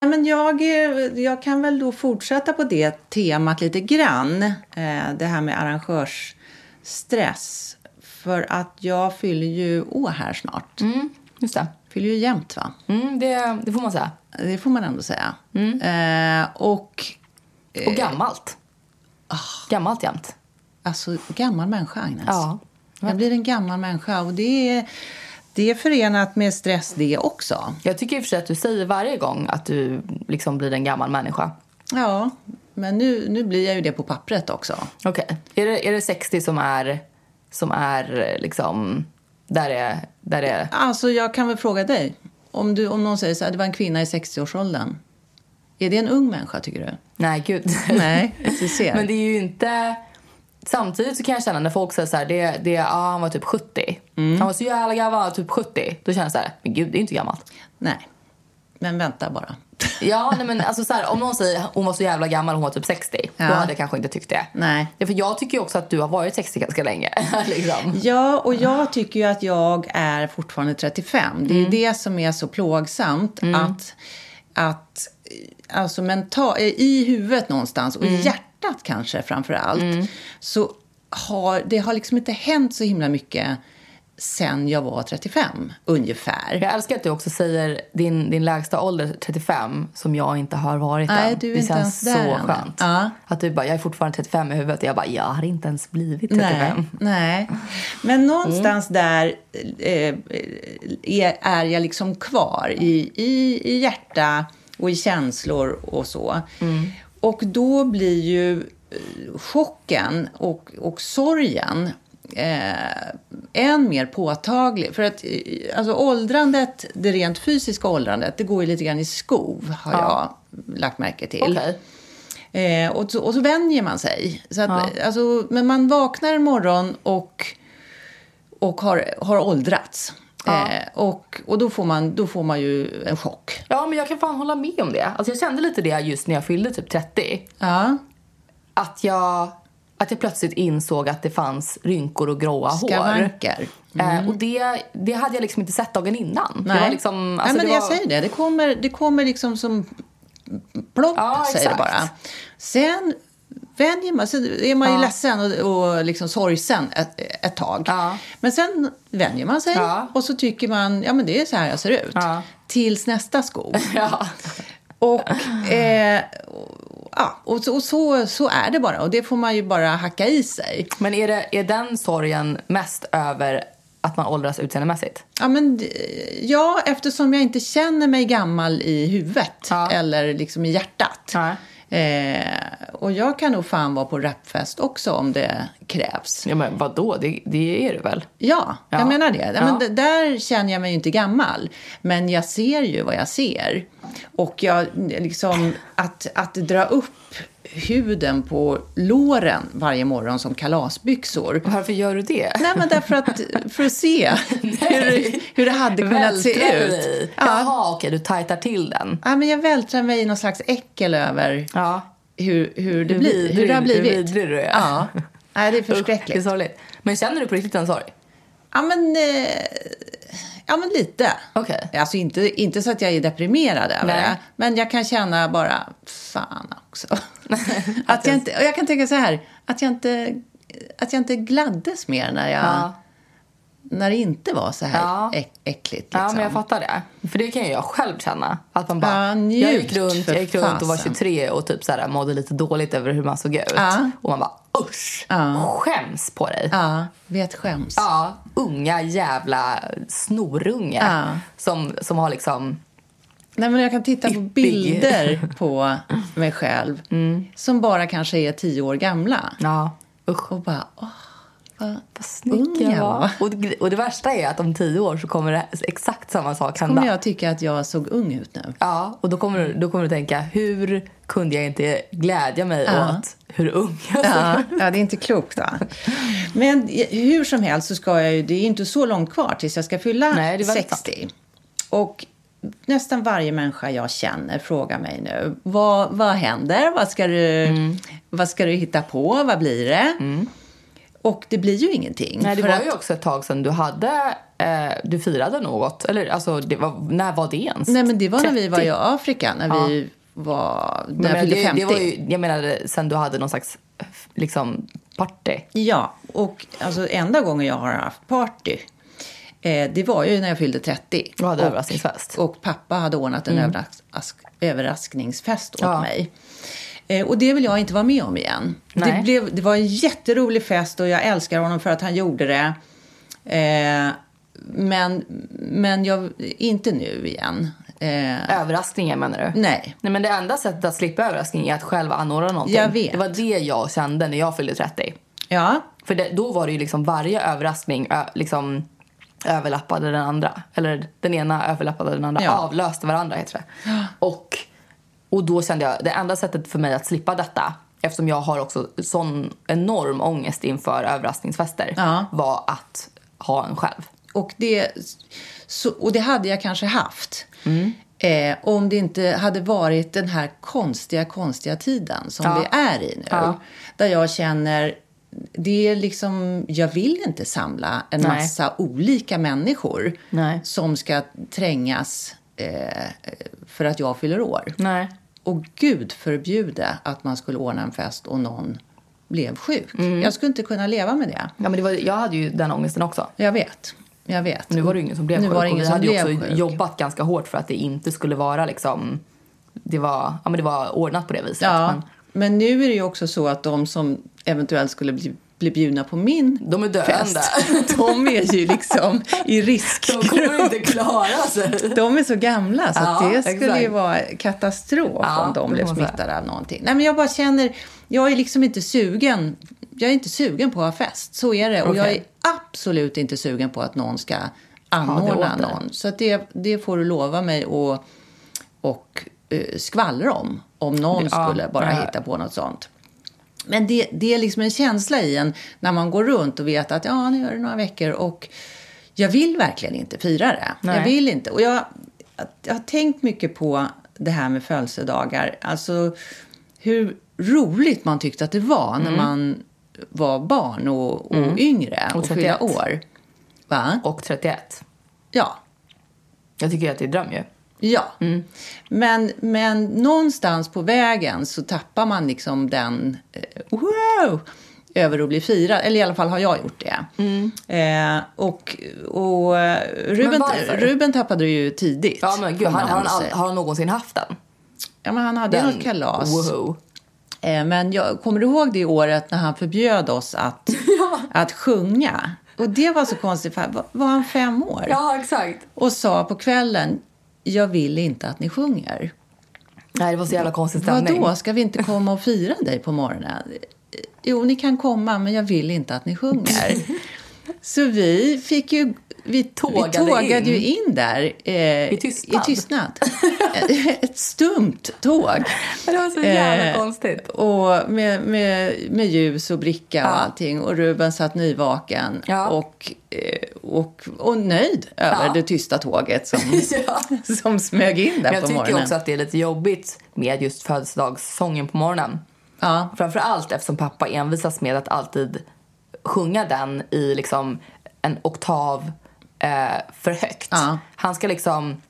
Speaker 3: Ja, Men jag, eh, jag kan väl då fortsätta på det temat lite grann. Eh, Det här med arrangörsstress. För att jag fyller ju år här snart.
Speaker 4: Mm, just det.
Speaker 3: Fyller ju jämt va?
Speaker 4: Mm, det, det får man säga. Mm.
Speaker 3: Det får man ändå säga. Eh, och
Speaker 4: Och gammalt. Gammalt jämt.
Speaker 3: Alltså, gammal människa, Agnes.
Speaker 4: Ja.
Speaker 3: Jag blir en gammal människa. Och det är, det är förenat med stress det också.
Speaker 4: Jag tycker i och för sig att du säger varje gång att du liksom blir en gammal människa.
Speaker 3: Ja, men nu, nu blir jag ju det på pappret också.
Speaker 4: Okej. Är, det, är det 60 som är, som är liksom, där är, där är
Speaker 3: Alltså, jag kan väl fråga dig. Om, du, om någon säger så här, det var en kvinna i 60-årsåldern. Är det en ung människa, tycker du?
Speaker 4: Nej, gud.
Speaker 3: Nej,
Speaker 4: (laughs)
Speaker 3: du ser.
Speaker 4: Men det är ju inte... Samtidigt så kan jag känna när folk säger så här, det, det, ja, han var typ 70.
Speaker 3: Mm.
Speaker 4: Han var så jävla gammal, typ 70. Då känner jag så här, men gud, det är inte gammalt.
Speaker 3: Nej. Men vänta bara. (laughs)
Speaker 4: Ja, nej, men alltså så här, om någon säger hon var så jävla gammal, hon var typ 60.
Speaker 3: Ja.
Speaker 4: Då hade jag kanske inte tyckt det.
Speaker 3: Nej.
Speaker 4: Ja, för jag tycker ju också att du har varit 60 ganska länge. (laughs) liksom.
Speaker 3: Ja, och jag tycker ju att jag är fortfarande 35. Det är det som är så plågsamt. Att, att eh, alltså menta- eh, i huvudet någonstans och i hjärtat kanske framför allt. Så har, det har liksom inte hänt så himla mycket sen jag var 35 ungefär.
Speaker 4: Jag älskar att du också säger din, din lägsta ålder, 35, som jag inte har varit
Speaker 3: Nej,
Speaker 4: än.
Speaker 3: du är
Speaker 4: det
Speaker 3: inte
Speaker 4: känns
Speaker 3: ens där
Speaker 4: så
Speaker 3: än.
Speaker 4: skönt.
Speaker 3: Ja.
Speaker 4: Att du bara, jag är fortfarande 35 i huvudet. Jag bara, jag har inte ens blivit 35.
Speaker 3: Nej, nej. Men någonstans där eh, är, är jag liksom kvar i, i, i hjärta och i känslor och så. Och då blir ju eh, chocken och, och sorgen eh, än mer påtaglig. För att eh, alltså åldrandet, det rent fysiska åldrandet, det går ju lite grann i skov har jag lagt märke till.
Speaker 4: Okej.
Speaker 3: Eh, och, så, och så vänjer man sig. Så att, alltså, men man vaknar en morgon och, och har, har åldrats. Eh, och och då, får man, då får man ju en chock.
Speaker 4: Ja, men jag kan fan hålla med om det. Alltså, jag kände lite det just när jag fyllde typ 30.
Speaker 3: Ja.
Speaker 4: Att jag, att jag plötsligt insåg att det fanns rynkor och gråa hår.
Speaker 3: Skavanker. Mm.
Speaker 4: Eh, och det, det hade jag liksom inte sett dagen innan.
Speaker 3: Nej.
Speaker 4: Det var liksom,
Speaker 3: Nej,
Speaker 4: alltså,
Speaker 3: men
Speaker 4: det
Speaker 3: jag
Speaker 4: var,
Speaker 3: säger det. Det kommer, det kommer liksom som plopp,
Speaker 4: Ja,
Speaker 3: säger det
Speaker 4: exakt.
Speaker 3: bara. Sen vänjer man sig. är man ju ledsen och, och liksom sorgsen ett, ett tag.
Speaker 4: Ja.
Speaker 3: Men sen vänjer man sig
Speaker 4: Ja.
Speaker 3: och så tycker man ja men det är så här jag ser ut.
Speaker 4: Ja.
Speaker 3: Tills nästa skov.
Speaker 4: (laughs) (laughs) Ja.
Speaker 3: Och, eh, och- ja, och, så, och så, så är det bara. Och det får man ju bara hacka i sig.
Speaker 4: Men är, det, är den sorgen mest över att man åldras utseendemässigt?
Speaker 3: Ja, men, d- ja, eftersom jag inte känner mig gammal i huvudet
Speaker 4: Ja.
Speaker 3: eller liksom i hjärtat.
Speaker 4: Ja.
Speaker 3: Eh, och jag kan nog fan vara på rapfest också om det krävs.
Speaker 4: Ja, men vadå? Det, det är det väl?
Speaker 3: Ja,
Speaker 4: Ja.
Speaker 3: jag menar det. Ja. Men d-
Speaker 4: Ja.
Speaker 3: där känner jag mig ju inte gammal. Men jag ser ju vad jag ser. Och jag, liksom, att, att dra upp huden på låren varje morgon som kalasbyxor.
Speaker 4: Varför gör du det?
Speaker 3: Nej, (laughs) men därför att, för att se hur, hur det hade kunnat se
Speaker 4: Vältrar
Speaker 3: ut.
Speaker 4: du dig? Jaha, okej, du tajtar till den.
Speaker 3: Ja, men jag vältrar mig i någon slags äckel över
Speaker 4: Ja.
Speaker 3: hur, hur, det
Speaker 4: Hur
Speaker 3: blir,
Speaker 4: vidrig-
Speaker 3: hur det har blivit.
Speaker 4: Hur vidrig du är.
Speaker 3: Ja. Nej, det är
Speaker 4: Usch, Det är
Speaker 3: förskräckligt.
Speaker 4: sorgligt. Men känner du på riktigt en sorg?
Speaker 3: Ja, men, eh, ja, men lite.
Speaker 4: Okej.
Speaker 3: Alltså inte, inte så att jag är deprimerad över
Speaker 4: Nej.
Speaker 3: det, men jag kan känna bara, fan
Speaker 4: (laughs)
Speaker 3: också. att jag, inte, och jag kan tänka så här, att jag inte, att jag inte gladdes mer när, jag,
Speaker 4: Ja.
Speaker 3: när det inte var så här
Speaker 4: Ja.
Speaker 3: äck, äckligt.
Speaker 4: Ja,
Speaker 3: Liksom.
Speaker 4: men jag fattar det. För det kan ju jag själv känna. Att man bara,
Speaker 3: Ja, njut,
Speaker 4: jag gick runt,
Speaker 3: för
Speaker 4: jag gick runt och var
Speaker 3: fasen.
Speaker 4: 23 och typ så här, mådde lite dåligt över hur man såg ut.
Speaker 3: Ja.
Speaker 4: Och man bara usch, skäms på dig.
Speaker 3: Ja, vet skäms.
Speaker 4: Ja, unga jävla snorunge
Speaker 3: Ja.
Speaker 4: som, som har liksom...
Speaker 3: Nej, men jag kan titta på
Speaker 4: Ippig. (laughs)
Speaker 3: bilder på mig själv
Speaker 4: Mm.
Speaker 3: som bara kanske är tio år gamla.
Speaker 4: Ja, usch.
Speaker 3: Och bara, åh, vad,
Speaker 4: Vad snygg
Speaker 3: Ung
Speaker 4: jag
Speaker 3: jag
Speaker 4: var.
Speaker 3: var.
Speaker 4: Och, det- och det värsta är att om tio år så kommer det, exakt samma sak hända.
Speaker 3: kommer jag tycka att jag såg ung ut nu.
Speaker 4: Ja, och då kommer, du, då kommer du tänka hur kunde jag inte glädja mig åt hur ung jag
Speaker 3: Ja,
Speaker 4: var?
Speaker 3: (laughs) ja, det är inte klokt. Va? Men hur som helst så ska jag ju, det är inte så långt kvar tills jag ska fylla
Speaker 4: Nej, det är väldigt
Speaker 3: 60. Och nästan varje människa jag känner frågar mig nu, vad, vad händer? Vad ska, du,
Speaker 4: Mm.
Speaker 3: vad ska du hitta på? Vad blir det? Och det blir ju ingenting.
Speaker 4: Nej, det
Speaker 3: för
Speaker 4: var
Speaker 3: att-
Speaker 4: ju också ett tag sedan du hade, eh, du firade något. Eller alltså, det var, när var det ens?
Speaker 3: Nej, men det var när vi
Speaker 4: 30.
Speaker 3: var i Afrika, när vi var... När
Speaker 4: Men
Speaker 3: jag fyllde
Speaker 4: det,
Speaker 3: 50.
Speaker 4: det var ju, jag menade sen du hade någon slags liksom party.
Speaker 3: Ja, och alltså enda gången jag har haft party, eh, det var ju när jag fyllde 30.
Speaker 4: Du hade
Speaker 3: och,
Speaker 4: överraskningsfest. Mm.
Speaker 3: och pappa hade ordnat en överrask, överraskningsfest åt
Speaker 4: Ja.
Speaker 3: mig. Eh, och det vill jag inte vara med om igen.
Speaker 4: Nej.
Speaker 3: Det, blev, det var en jätterolig fest och jag älskar honom för att han gjorde det. Eh, men, men jag, inte nu igen. Eh,
Speaker 4: Överraskningen menar du?
Speaker 3: Nej.
Speaker 4: Nej men det enda sättet att slippa överraskning är att själv anordna någonting.
Speaker 3: Jag vet.
Speaker 4: Det var det jag kände när jag fyllde 30.
Speaker 3: Ja,
Speaker 4: För det, då var det ju liksom varje överraskning ö, liksom överlappade den andra. Eller den ena överlappade den andra.
Speaker 3: Ja.
Speaker 4: Avlöste varandra heter det. Och, och då kände jag, det enda sättet för mig att slippa detta eftersom jag har också sån enorm ångest inför överraskningsfester
Speaker 3: Ja.
Speaker 4: var att ha en själv.
Speaker 3: och det, så, och det hade jag kanske haft.
Speaker 4: Mm.
Speaker 3: Eh, om det inte hade varit den här konstiga, konstiga tiden som
Speaker 4: Ja.
Speaker 3: vi är i nu.
Speaker 4: Ja.
Speaker 3: Där jag känner, det är liksom, jag vill inte samla en
Speaker 4: Nej.
Speaker 3: massa olika människor
Speaker 4: Nej.
Speaker 3: som ska trängas eh, för att jag fyller år.
Speaker 4: Nej.
Speaker 3: Och gud förbjude att man skulle ordna en fest och någon blev sjuk.
Speaker 4: Mm.
Speaker 3: Jag skulle inte kunna leva med det.
Speaker 4: Ja, men det var, jag hade ju den ångesten också.
Speaker 3: Jag vet. Jag vet.
Speaker 4: Nu var det ju ingen som blev
Speaker 3: nu
Speaker 4: sjuk.
Speaker 3: Var det
Speaker 4: och
Speaker 3: ingen
Speaker 4: vi
Speaker 3: som
Speaker 4: hade ju
Speaker 3: blev
Speaker 4: också
Speaker 3: sjuk.
Speaker 4: jobbat ganska hårt för att det inte skulle vara liksom... Det var, ja, men det var ordnat på det viset.
Speaker 3: Ja,
Speaker 4: Men
Speaker 3: men nu är det ju också så att de som eventuellt skulle bli, bli bjudna på min
Speaker 4: de är döende.
Speaker 3: fest, de är ju liksom i risk.
Speaker 4: (laughs) De kommer inte klara
Speaker 3: (laughs)
Speaker 4: sig.
Speaker 3: De är så gamla så att
Speaker 4: Ja,
Speaker 3: det skulle ju
Speaker 4: exakt.
Speaker 3: vara katastrof
Speaker 4: Ja,
Speaker 3: om de
Speaker 4: det
Speaker 3: blev
Speaker 4: får man säga.
Speaker 3: smittade av någonting. Nej, men jag bara känner, jag är liksom inte sugen. Jag är inte sugen på att ha fest, så är det. Och jag är
Speaker 4: Okej.
Speaker 3: absolut inte sugen på att någon ska anordna
Speaker 4: åt dig.
Speaker 3: någon. Så att det, det får du lova mig och, och eh, skvallra om, om någon
Speaker 4: Ja,
Speaker 3: skulle bara
Speaker 4: ja.
Speaker 3: hitta på något sånt. Men det, det är liksom en känsla i en när man går runt och vet att ja, nu är det några veckor och jag vill verkligen inte fira det.
Speaker 4: Nej.
Speaker 3: Jag vill inte. Och jag, jag har tänkt mycket på det här med födelsedagar. Alltså hur roligt man tyckte att det var när man var barn och, och yngre och,
Speaker 4: Och
Speaker 3: fyllda
Speaker 4: 31.
Speaker 3: år. Va?
Speaker 4: Och 31.
Speaker 3: Ja.
Speaker 4: Jag tycker ju att det är dröm ju.
Speaker 3: Ja.
Speaker 4: Mm.
Speaker 3: Men, men någonstans på vägen så tappar man liksom den... Eh, wow! över att bli firad. Eller i alla fall har jag gjort det. Eh, och och eh,
Speaker 4: Mm. Men
Speaker 3: Ruben,
Speaker 4: varför?
Speaker 3: Ruben tappade det ju tidigt.
Speaker 4: Ja men gud,
Speaker 3: får man
Speaker 4: har, har, han,
Speaker 3: ändå
Speaker 4: all-
Speaker 3: säga.
Speaker 4: har han någonsin haft den?
Speaker 3: ja, men han hade något kalas.
Speaker 4: Wow.
Speaker 3: Eh, men jag, kommer du ihåg det året när han förbjöd oss
Speaker 4: (laughs)
Speaker 3: att, att sjunga? Och det var så konstigt, för var, var han fem år?
Speaker 4: Ja exakt.
Speaker 3: Och sa på kvällen, jag vill inte att ni sjunger.
Speaker 4: Nej det var så jävla
Speaker 3: (laughs)
Speaker 4: konstig stämning.
Speaker 3: Vadå, ska vi inte komma och fira dig på morgonen? Jo, ni kan komma, men jag vill inte att ni sjunger.
Speaker 4: (laughs)
Speaker 3: Så vi fick ju... Vi
Speaker 4: Tågade
Speaker 3: vi tågade
Speaker 4: in.
Speaker 3: ju in där eh,
Speaker 4: I tystnad.
Speaker 3: i tystnad.
Speaker 4: (laughs)
Speaker 3: Ett stumt tåg.
Speaker 4: Men Det var så jävla
Speaker 3: Eh,
Speaker 4: konstigt.
Speaker 3: Och med, med, med ljus och bricka och
Speaker 4: Ja.
Speaker 3: allting. Och Ruben satt nyvaken
Speaker 4: Ja.
Speaker 3: och, eh, och, och nöjd över
Speaker 4: Ja.
Speaker 3: det tysta tåget som,
Speaker 4: (laughs) Ja.
Speaker 3: som smög in där
Speaker 4: Men jag
Speaker 3: på
Speaker 4: tycker
Speaker 3: morgonen.
Speaker 4: också att det är lite jobbigt med just födelsedagssången på morgonen.
Speaker 3: Ja.
Speaker 4: Framförallt eftersom pappa envisas med att alltid sjunga den i liksom en oktav eh, för högt.
Speaker 3: Ja.
Speaker 4: Han ska liksom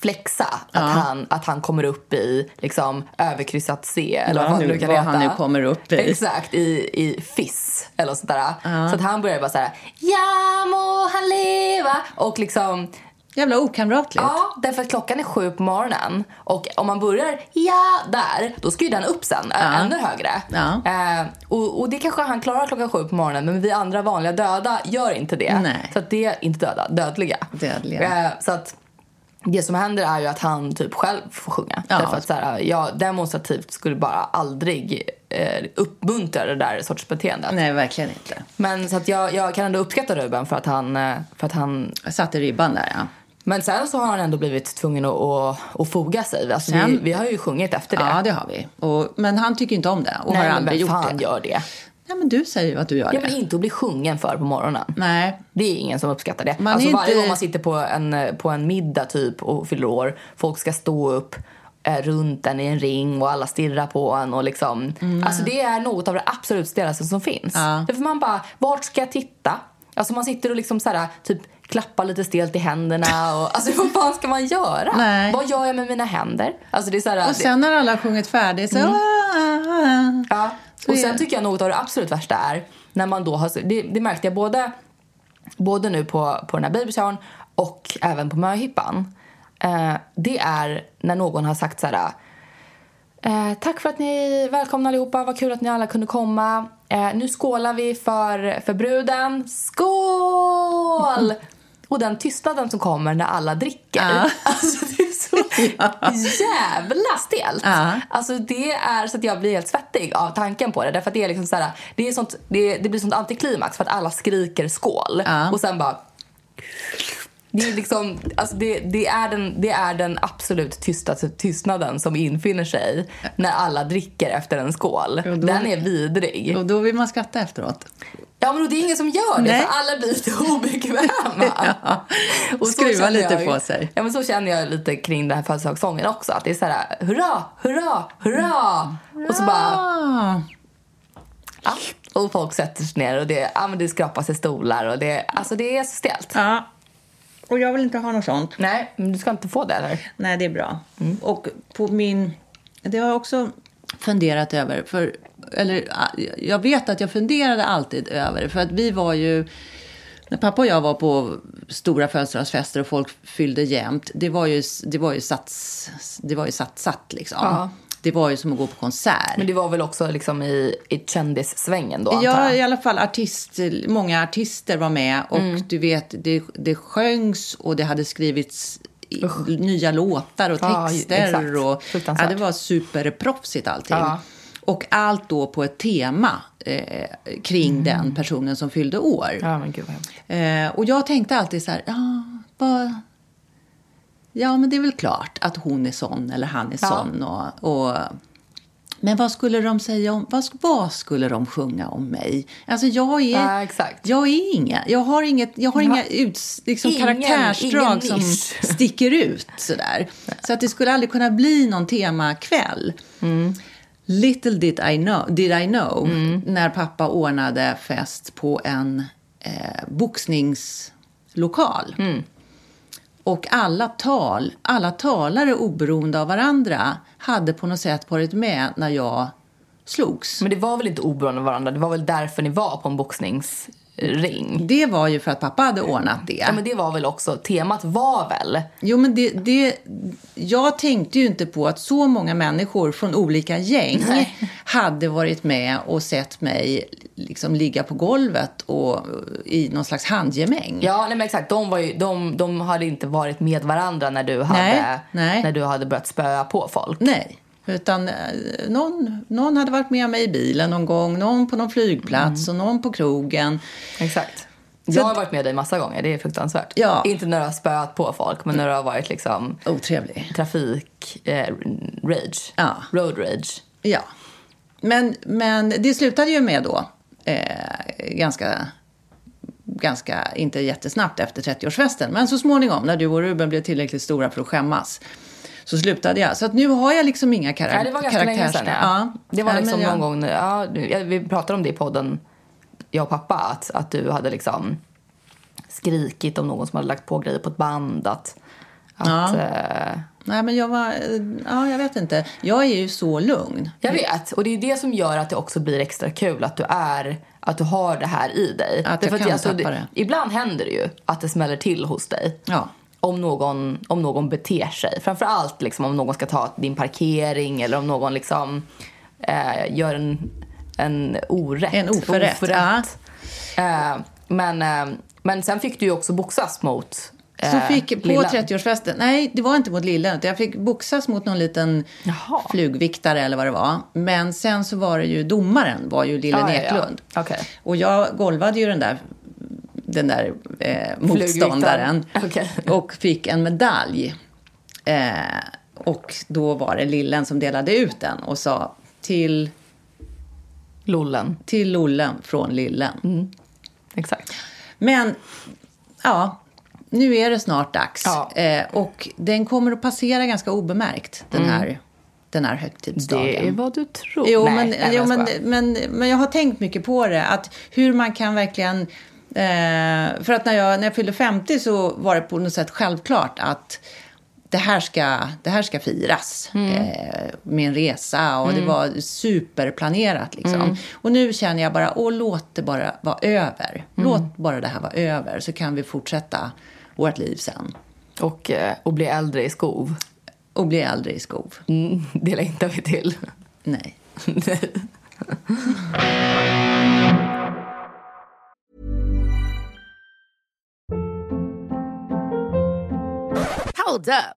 Speaker 4: flexa att, han, att han kommer upp i liksom överkryssat C eller
Speaker 3: Vad
Speaker 4: vad,
Speaker 3: nu-
Speaker 4: nu, brukar
Speaker 3: vad
Speaker 4: heta.
Speaker 3: han nu kommer upp i.
Speaker 4: Exakt, i, i fiss eller sånt där. Så att han börjar bara så här: ja må han leva och liksom
Speaker 3: Jävla okamratligt.
Speaker 4: Ja, därför att klockan är sju på morgonen och om man börjar ja där, då ska ju den upp sen, ä- ännu högre.
Speaker 3: Ja.
Speaker 4: Eh, och, och det kanske han klarar klockan sju på morgonen men vi andra vanliga döda gör inte det.
Speaker 3: Nej.
Speaker 4: Så att det är inte döda, dödliga.
Speaker 3: Dödliga.
Speaker 4: Eh, så att det som händer är ju att han typ själv får sjunga.
Speaker 3: Ja.
Speaker 4: Därför att så här, jag demonstrativt skulle bara aldrig eh, uppmuntra det där sorts beteendet.
Speaker 3: Nej, verkligen inte.
Speaker 4: Men så att jag, jag kan ändå uppskatta Ruben för att han, eh, för att han
Speaker 3: Jag satte ribban där, ja.
Speaker 4: men sen så har han ändå blivit tvungen att, att, att foga sig. Alltså, vi,
Speaker 3: Sen-
Speaker 4: vi har ju sjungit efter det.
Speaker 3: Ja, det har vi. Och, men han tycker inte om det och
Speaker 4: Nej,
Speaker 3: har
Speaker 4: men vem
Speaker 3: aldrig gjort
Speaker 4: fan
Speaker 3: det.
Speaker 4: gör det?
Speaker 3: Nej, men du säger ju att du gör det.
Speaker 4: Ja, men inte att bli sjungen för på morgonen.
Speaker 3: Nej.
Speaker 4: Det är ingen som uppskattar det.
Speaker 3: Man
Speaker 4: alltså,
Speaker 3: är
Speaker 4: Varje
Speaker 3: inte-
Speaker 4: gång man sitter på en, eh, på en middag typ och fyller år, folk ska stå upp eh, runt en i en ring och alla stirrar på en. Och liksom. alltså, det är något av det absolut stelaste som finns.
Speaker 3: Mm. Ja.
Speaker 4: Därför man bara, vart ska jag titta? Alltså man sitter och liksom så här, typ klappar lite stelt i händerna. Och, alltså (laughs) vad fan ska man göra?
Speaker 3: Nej.
Speaker 4: Vad gör jag med mina händer? Alltså det är så här,
Speaker 3: Och sen när alla har sjungit färdigt så... Ah.
Speaker 4: Ja.
Speaker 3: Så
Speaker 4: och
Speaker 3: är
Speaker 4: sen
Speaker 3: det.
Speaker 4: tycker jag något av det absolut värsta är när man då har, det, det märkte jag både, både nu på, på den här babyshowern och även på möhippan. Eh, det är när någon har sagt så här Eh, tack för att ni välkomna allihopa. Vad kul att ni alla kunde komma. Eh, nu skålar vi för, för bruden. Skål! Och den tystnaden som kommer när alla dricker. (laughs) Alltså det är så jävla stelt. Alltså det är så att jag blir helt svettig av tanken på det. Därför att det är liksom så här, det, är sånt, det, det blir sånt antiklimax för att alla skriker skål. Och sen bara det är, liksom, alltså det, det, är den, det är den absolut tystaste tystnaden som infinner sig när alla dricker efter en skål.
Speaker 3: Ja, då-
Speaker 4: Den är vidrig.
Speaker 3: Och då vill man skratta efteråt.
Speaker 4: Ja, men det är ingen som gör det,
Speaker 3: Nej.
Speaker 4: för alla blir lite obekväma.
Speaker 3: (laughs) Ja.
Speaker 4: så
Speaker 3: Skruva
Speaker 4: känner
Speaker 3: lite
Speaker 4: jag, ju-
Speaker 3: på sig.
Speaker 4: Ja, men så känner jag lite kring den här födelsedagssången också. Att det är så här, hurra, hurra, hurra!
Speaker 3: Mm.
Speaker 4: Och så bara,
Speaker 3: Ah,
Speaker 4: ja. Och folk sätter sig ner och det, ja, men det skrapas i stolar och det, alltså det är så stelt.
Speaker 3: ja. Och jag vill inte ha något sånt.
Speaker 4: Nej, men du ska inte få det eller?
Speaker 3: Nej, det är bra.
Speaker 4: Mm.
Speaker 3: Och på min... Det har jag också funderat över. För, eller, ah, jag vet att jag funderade alltid över det. För att vi var ju... När pappa och jag var på stora födelsedagsfester och folk fyllde jämt. Det var ju, det var ju satt, det var ju satt, satt liksom.
Speaker 4: Ja.
Speaker 3: Det var ju som att gå på konsert.
Speaker 4: Men det var väl också liksom i, i kändissvängen då, antar
Speaker 3: Ja,
Speaker 4: jag?
Speaker 3: i alla fall artist, många artister var med och
Speaker 4: Mm.
Speaker 3: du vet, det, det sjöngs och det hade skrivits i- nya låtar och
Speaker 4: Ja,
Speaker 3: texter.
Speaker 4: exakt.
Speaker 3: och, ja,
Speaker 4: Fruktansvärt.
Speaker 3: det var superproffsigt allting.
Speaker 4: Ja.
Speaker 3: Och allt då på ett tema eh, kring den personen som fyllde år.
Speaker 4: Mm. Ja, men gud vad hemskt.
Speaker 3: Eh, och jag tänkte alltid så här, ja, vad... Ja, men det är väl klart att hon är sån eller han är
Speaker 4: Ja.
Speaker 3: sån. Och, och, men vad skulle de säga om... Vad, sk- vad skulle de sjunga om mig? Alltså, jag är...
Speaker 4: Ja, exakt.
Speaker 3: Jag är inga... Jag har, inget, jag har inga uts, liksom,
Speaker 4: Ingen-
Speaker 3: karaktärsdrag
Speaker 4: ingen
Speaker 3: som
Speaker 4: nisch.
Speaker 3: (laughs) sticker ut sådär. Så att det skulle aldrig kunna bli någon temakväll. Little did I know, did I know när pappa ordnade fest på en eh, boxningslokal. Och alla tal, alla talare oberoende av varandra hade på något sätt varit med när jag slogs.
Speaker 4: Men det var väl inte oberoende av varandra? Det var väl därför ni var på en boxningsring?
Speaker 3: Det var ju för att pappa hade ordnat det.
Speaker 4: Ja, men det var väl också, temat var väl?
Speaker 3: Jo, men det, det, jag tänkte ju inte på att så många människor från olika gäng hade varit med och sett mig liksom ligga på golvet och, i någon slags handgemäng.
Speaker 4: Ja, nej men exakt. De, var ju, de, de hade inte varit med varandra när du hade,
Speaker 3: Nej, nej.
Speaker 4: När du hade börjat spöa på folk.
Speaker 3: Nej, utan eh, någon, någon hade varit med mig i bilen någon gång, någon på någon flygplats och någon på krogen.
Speaker 4: Exakt. Jag har varit med dig massa gånger, det är fruktansvärt.
Speaker 3: Ja.
Speaker 4: Inte när du har spöat på folk, men när du har varit liksom
Speaker 3: Otrevlig.
Speaker 4: trafik, eh, rage,
Speaker 3: Ja.
Speaker 4: road rage.
Speaker 3: Ja. Men, men det slutade ju med då, eh, ganska, ganska, inte jättesnabbt efter 30-årsfesten, men så småningom när du och Ruben blev tillräckligt stora för att skämmas så slutade jag. Så att nu har jag liksom inga karak-
Speaker 4: Ja, det var ganska länge sedan. Ja.
Speaker 3: karaktärs-
Speaker 4: Det var
Speaker 3: Ja,
Speaker 4: liksom
Speaker 3: men jag-
Speaker 4: någon gång, när- ja, du- ja, vi pratade om det i podden, jag och pappa, att, att du hade liksom skrikit om någon som hade lagt på grejer på ett band. Att, att, eh,
Speaker 3: Nej, men jag var, eh, ja, jag vet inte. Jag är ju så lugn.
Speaker 4: jag vet, och det är det som gör att det också blir extra kul att du är att du har det här i dig.
Speaker 3: jag
Speaker 4: Därför
Speaker 3: kan tappa det.
Speaker 4: alltså, Ibland händer det ju att det smäller till hos dig.
Speaker 3: Ja.
Speaker 4: Om någon, om någon beter sig. Framförallt liksom om någon ska ta din parkering eller om någon liksom, eh, gör en, en orätt.
Speaker 3: En oförrätt,
Speaker 4: Eh, men, eh, men sen fick du ju också boxas mot eh,
Speaker 3: Så fick på
Speaker 4: lilla.
Speaker 3: 30-årsfesten, nej det var inte mot lillen, utan jag fick boxas mot någon liten
Speaker 4: Jaha.
Speaker 3: flugviktare eller vad det var. Men sen så var det ju domaren, var ju lillen
Speaker 4: Ja, ja, ja.
Speaker 3: Eklund.
Speaker 4: Okej.
Speaker 3: Och jag golvade ju den där, den där eh, motståndaren
Speaker 4: Okej. (laughs)
Speaker 3: och fick en medalj. Eh, och då var det lillen som delade ut den och sa till,
Speaker 4: Lollen.
Speaker 3: till lollen från lillen.
Speaker 4: Exakt.
Speaker 3: Men ja, nu är det snart dags.
Speaker 4: Ja.
Speaker 3: Eh, och den kommer att passera ganska obemärkt, den här, den här högtidsdagen.
Speaker 4: Mm. Det är vad du tror.
Speaker 3: Jo,
Speaker 4: Nej,
Speaker 3: men,
Speaker 4: nej, men
Speaker 3: jo
Speaker 4: jag
Speaker 3: men,
Speaker 4: skojar.
Speaker 3: men, men jag har tänkt mycket på det. Att hur man kan verkligen... Eh, för att när jag, när jag fyllde 50 så var det på något sätt självklart att det här ska, det här ska firas
Speaker 4: Mm.
Speaker 3: eh, med en resa och det var superplanerat. Liksom.
Speaker 4: Mm.
Speaker 3: Och nu känner jag bara, åh låt det bara vara
Speaker 4: Mm.
Speaker 3: över. Låt bara det här vara över så kan vi fortsätta vårt liv sen.
Speaker 4: Och, eh, och bli äldre i skov.
Speaker 3: Och blir aldrig skov.
Speaker 4: Mm, det lär inte vi till.
Speaker 3: Nej.
Speaker 6: Hold up.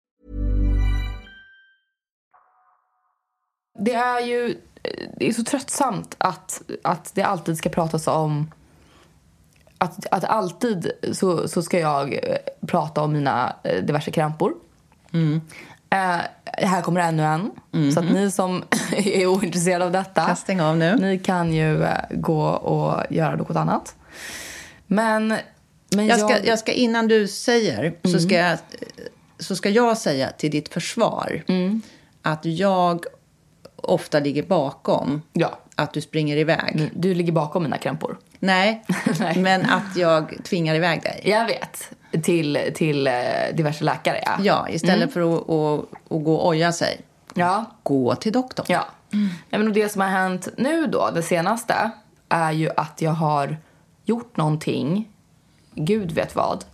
Speaker 4: Det är ju det är så tröttsamt att, att det alltid ska pratas om... Att, att alltid så, så ska jag eh, prata om mina eh, diverse krampor.
Speaker 3: Mm.
Speaker 4: Eh, här kommer ännu en. Så att ni som (laughs) är ointresserade av detta...
Speaker 3: Kan stänga Mm-hmm. av nu.
Speaker 4: Ni kan ju eh, gå och göra något annat. Men, men
Speaker 3: Jag ska, jag ska, innan du säger, så,
Speaker 4: Mm.
Speaker 3: ska jag, så ska jag säga till ditt försvar
Speaker 4: Mm.
Speaker 3: att jag ofta ligger bakom
Speaker 4: Ja.
Speaker 3: att du springer iväg.
Speaker 4: Du ligger bakom mina krampor.
Speaker 3: Nej,
Speaker 4: (laughs) Nej.
Speaker 3: men att jag tvingar iväg dig.
Speaker 4: Jag vet. Till, till eh, diverse läkare, ja.
Speaker 3: Ja, istället
Speaker 4: Mm.
Speaker 3: för att, att, att gå och oja sig.
Speaker 4: Ja.
Speaker 3: Gå till doktorn.
Speaker 4: ja. Nej, men och det som har hänt nu då, det senaste, är ju att jag har gjort någonting, gud vet vad,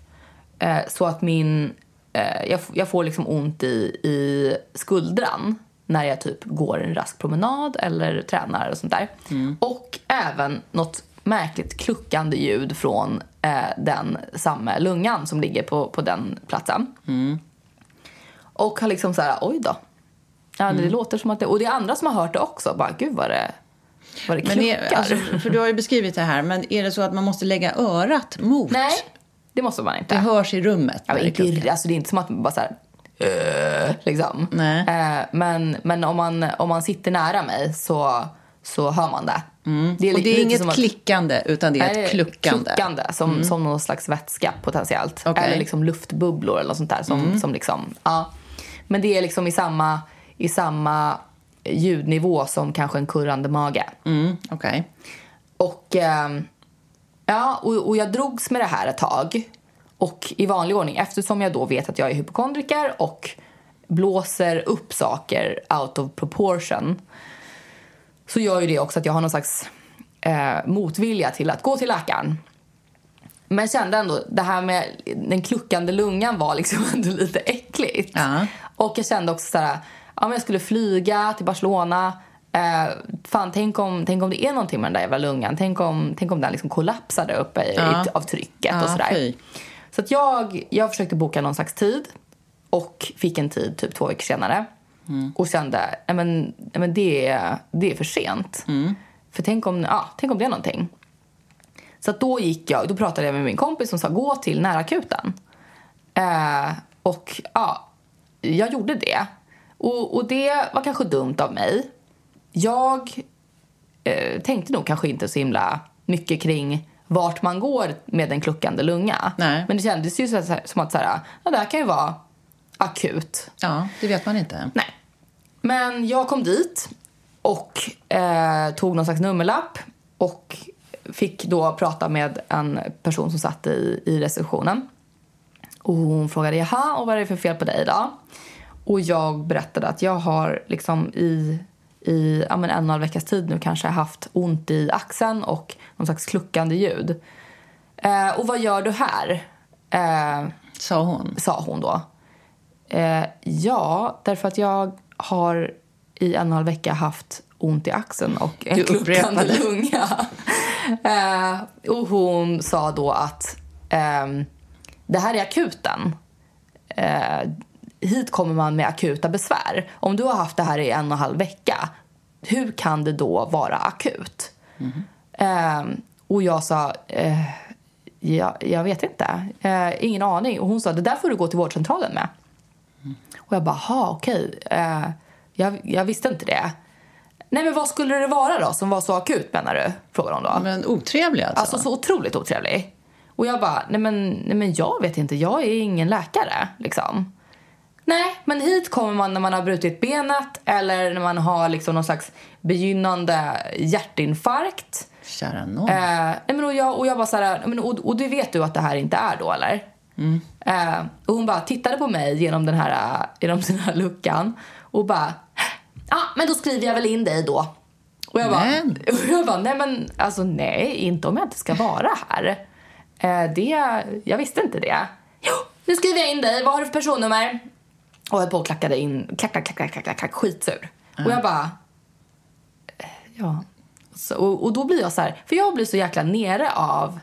Speaker 4: eh, så att min... Eh, jag, f- jag får liksom ont i, i skuldran när jag typ går en rask promenad eller tränar och sånt där. Och även något märkligt kluckande ljud från eh, den samma lungan som ligger på, på den platsen. Och har liksom så här, oj då. Ja,
Speaker 3: Mm.
Speaker 4: det låter som att det... Och det är andra som har hört det också. Bara, gud vad det, vad det
Speaker 3: Men
Speaker 4: kluckar.
Speaker 3: är, alltså, för du har ju beskrivit det här, men är det så att man måste lägga örat mot?
Speaker 4: Nej, det måste man inte.
Speaker 3: Det hörs i rummet.
Speaker 4: ja,
Speaker 3: när
Speaker 4: men
Speaker 3: det
Speaker 4: inte,
Speaker 3: kluckar.
Speaker 4: i- alltså, det är inte som att man bara så här... "Eh", Liksom.
Speaker 3: Nej.
Speaker 4: Eh, men men om, man, om man sitter nära mig så, så hör man det. li-
Speaker 3: Mm. och det
Speaker 4: lite
Speaker 3: är inget
Speaker 4: som att-
Speaker 3: klickande, utan det är
Speaker 4: Nej,
Speaker 3: ett kluckande. Mm.
Speaker 4: som, som någon slags vätska potentiellt.
Speaker 3: Okej. Mm.
Speaker 4: Eller liksom luftbubblor eller något sånt där. Som, som liksom, ja. Men det är liksom i samma, i samma ljudnivå som kanske en kurrande mage.
Speaker 3: Mm, Okej.
Speaker 4: Och, ehm, ja, och, och jag drogs med det här ett tag. Och i vanlig ordning, eftersom jag då vet att jag är hypokondriker och blåser upp saker out of proportion så gör ju det också att jag har någon slags eh, motvilja till att gå till läkaren. Men jag kände ändå, det här med den kluckande lungan var liksom (laughs) ändå lite äckligt.
Speaker 3: Ja.
Speaker 4: Och jag kände också såhär, ja men jag skulle flyga till Barcelona. Eh, fan, tänk om, tänk om det är någonting med den där jävla lungan. Tänk om, tänk om den liksom kollapsade uppe i,
Speaker 3: Ja.
Speaker 4: i, av trycket och
Speaker 3: Ja,
Speaker 4: sådär.
Speaker 3: fy.
Speaker 4: Så att jag, jag försökte boka någon slags tid och fick en tid typ två veckor senare.
Speaker 3: Mm.
Speaker 4: Och kände, "Nej, men, nej, men det, är- det är för sent.
Speaker 3: Mm.
Speaker 4: För tänk om, ja, tänk om det är någonting. Så att då gick jag, då pratade jag med min kompis som sa gå till närakuten. Eh, och ja, jag gjorde det. Och, och det var kanske dumt av mig. Jag eh, tänkte nog kanske inte så himla mycket kring vart man går med en kluckande lunga.
Speaker 3: Nej.
Speaker 4: Men det kändes ju så här, som att så här, ja, det här kan ju vara akut.
Speaker 3: Ja, det vet man inte.
Speaker 4: Nej. Men jag kom dit och eh, tog någon slags nummerlapp och fick då prata med en person som satt i, i receptionen. Och hon frågade jaha, och vad är det för fel på dig då? Och jag berättade att jag har liksom i, i ja, men en och en halv veckas tid nu kanske haft ont i axeln och någon slags kluckande ljud. Eh, och vad gör du här? Eh,
Speaker 3: Sa hon.
Speaker 4: sa hon då. Eh, ja, därför att jag har i en och en halv vecka haft ont i axeln och en
Speaker 3: Du
Speaker 4: kluckande
Speaker 3: upprepade.
Speaker 4: lunga. (laughs) eh, och hon sa då att ehm, det här är akuten. Eh, hit kommer man med akuta besvär. Om du har haft det här i en och en halv vecka, hur kan det då vara akut? Ehm, och jag sa, eh, ja, jag vet inte. Eh, ingen aning. Och hon sa, det där får du gå till vårdcentralen med. Och jag bara, ha okej. Eh, jag, jag visste inte det. Nej men vad skulle det vara då som var så akut menar du? Frågade hon då.
Speaker 3: Men otrevlig alltså.
Speaker 4: Alltså så otroligt otrevlig. Och jag bara, nej men, nej men jag vet inte, jag är ingen läkare liksom. Nej, men hit kommer man när man har brutit benet eller när man har liksom någon slags begynnande hjärtinfarkt.
Speaker 3: Kära nån.
Speaker 4: Eh, nej, men och, jag, och jag bara så här, men, och, och det vet du att det här inte är då eller? Eh, och hon bara tittade på mig genom den här, eh, genom den här luckan och bara, ja ah, men då skriver jag väl in dig då. Och jag, bara,
Speaker 3: Men.
Speaker 4: (laughs) och jag bara, nej men alltså nej, inte om jag inte ska vara här. Eh, det, jag visste inte det. Jo, nu skriver jag in dig, vad har du för personnummer? Och höll på och klackade in, klack, klack, klack, klack, klack, klack skitsur. Och jag bara, eh, Ja. Så, och, och då blir jag så här, för jag blir så jäkla nere av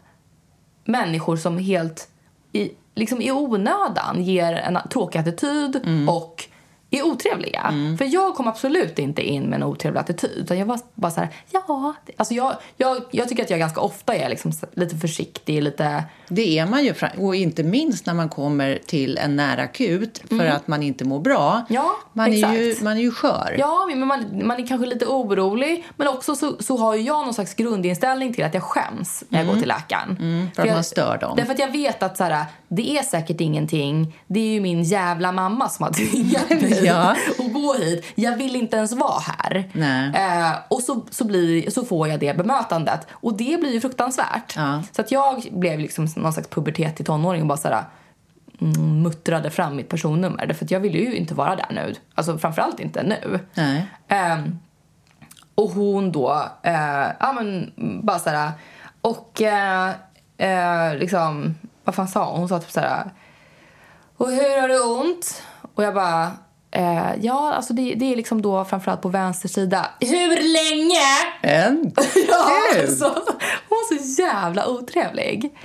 Speaker 4: människor som helt i, liksom i onödan ger en tråkig attityd och är otrevliga. För jag kom absolut inte in med en otrevlig attityd. Utan jag var bara så här, ja. Alltså jag, jag, jag tycker att jag ganska ofta är liksom lite försiktig, lite...
Speaker 3: Det är man ju, fram- och inte minst när man kommer till en nära akut för att man inte mår bra.
Speaker 4: Mm. Ja,
Speaker 3: man, är ju,
Speaker 4: exakt.
Speaker 3: man är ju skör.
Speaker 4: Ja, men man, man är kanske lite orolig. Men också så, så har ju jag någon slags grundinställning till att jag skäms när jag går till läkaren.
Speaker 3: Mm. för att
Speaker 4: jag,
Speaker 3: man stör dem.
Speaker 4: Därför att jag vet att så här, det är säkert ingenting. Det är ju min jävla mamma som har
Speaker 3: (laughs)
Speaker 4: tvingat mig
Speaker 3: Ja.
Speaker 4: att gå hit. Jag vill inte ens vara här.
Speaker 3: Nej.
Speaker 4: Eh, och så, så, blir, så får jag det bemötandet. Och det blir ju fruktansvärt.
Speaker 3: Ja.
Speaker 4: Så att jag blev liksom någon slags pubertet i tonåring och bara så här mm, muttrade fram mitt personnummer. Därför att jag ville ju inte vara där nu. Alltså framförallt inte nu.
Speaker 3: Nej.
Speaker 4: Ehm, och hon då, eh, ja men bara såhär, och eh, eh, liksom, vad fan sa hon? Hon sa typ såhär, och hur har du ont? Och jag bara, eh, ja alltså det, det är liksom då framförallt på vänster sida. Hur länge?
Speaker 3: En
Speaker 4: (laughs) Ja,
Speaker 3: kul.
Speaker 4: alltså, hon var så jävla otrevlig.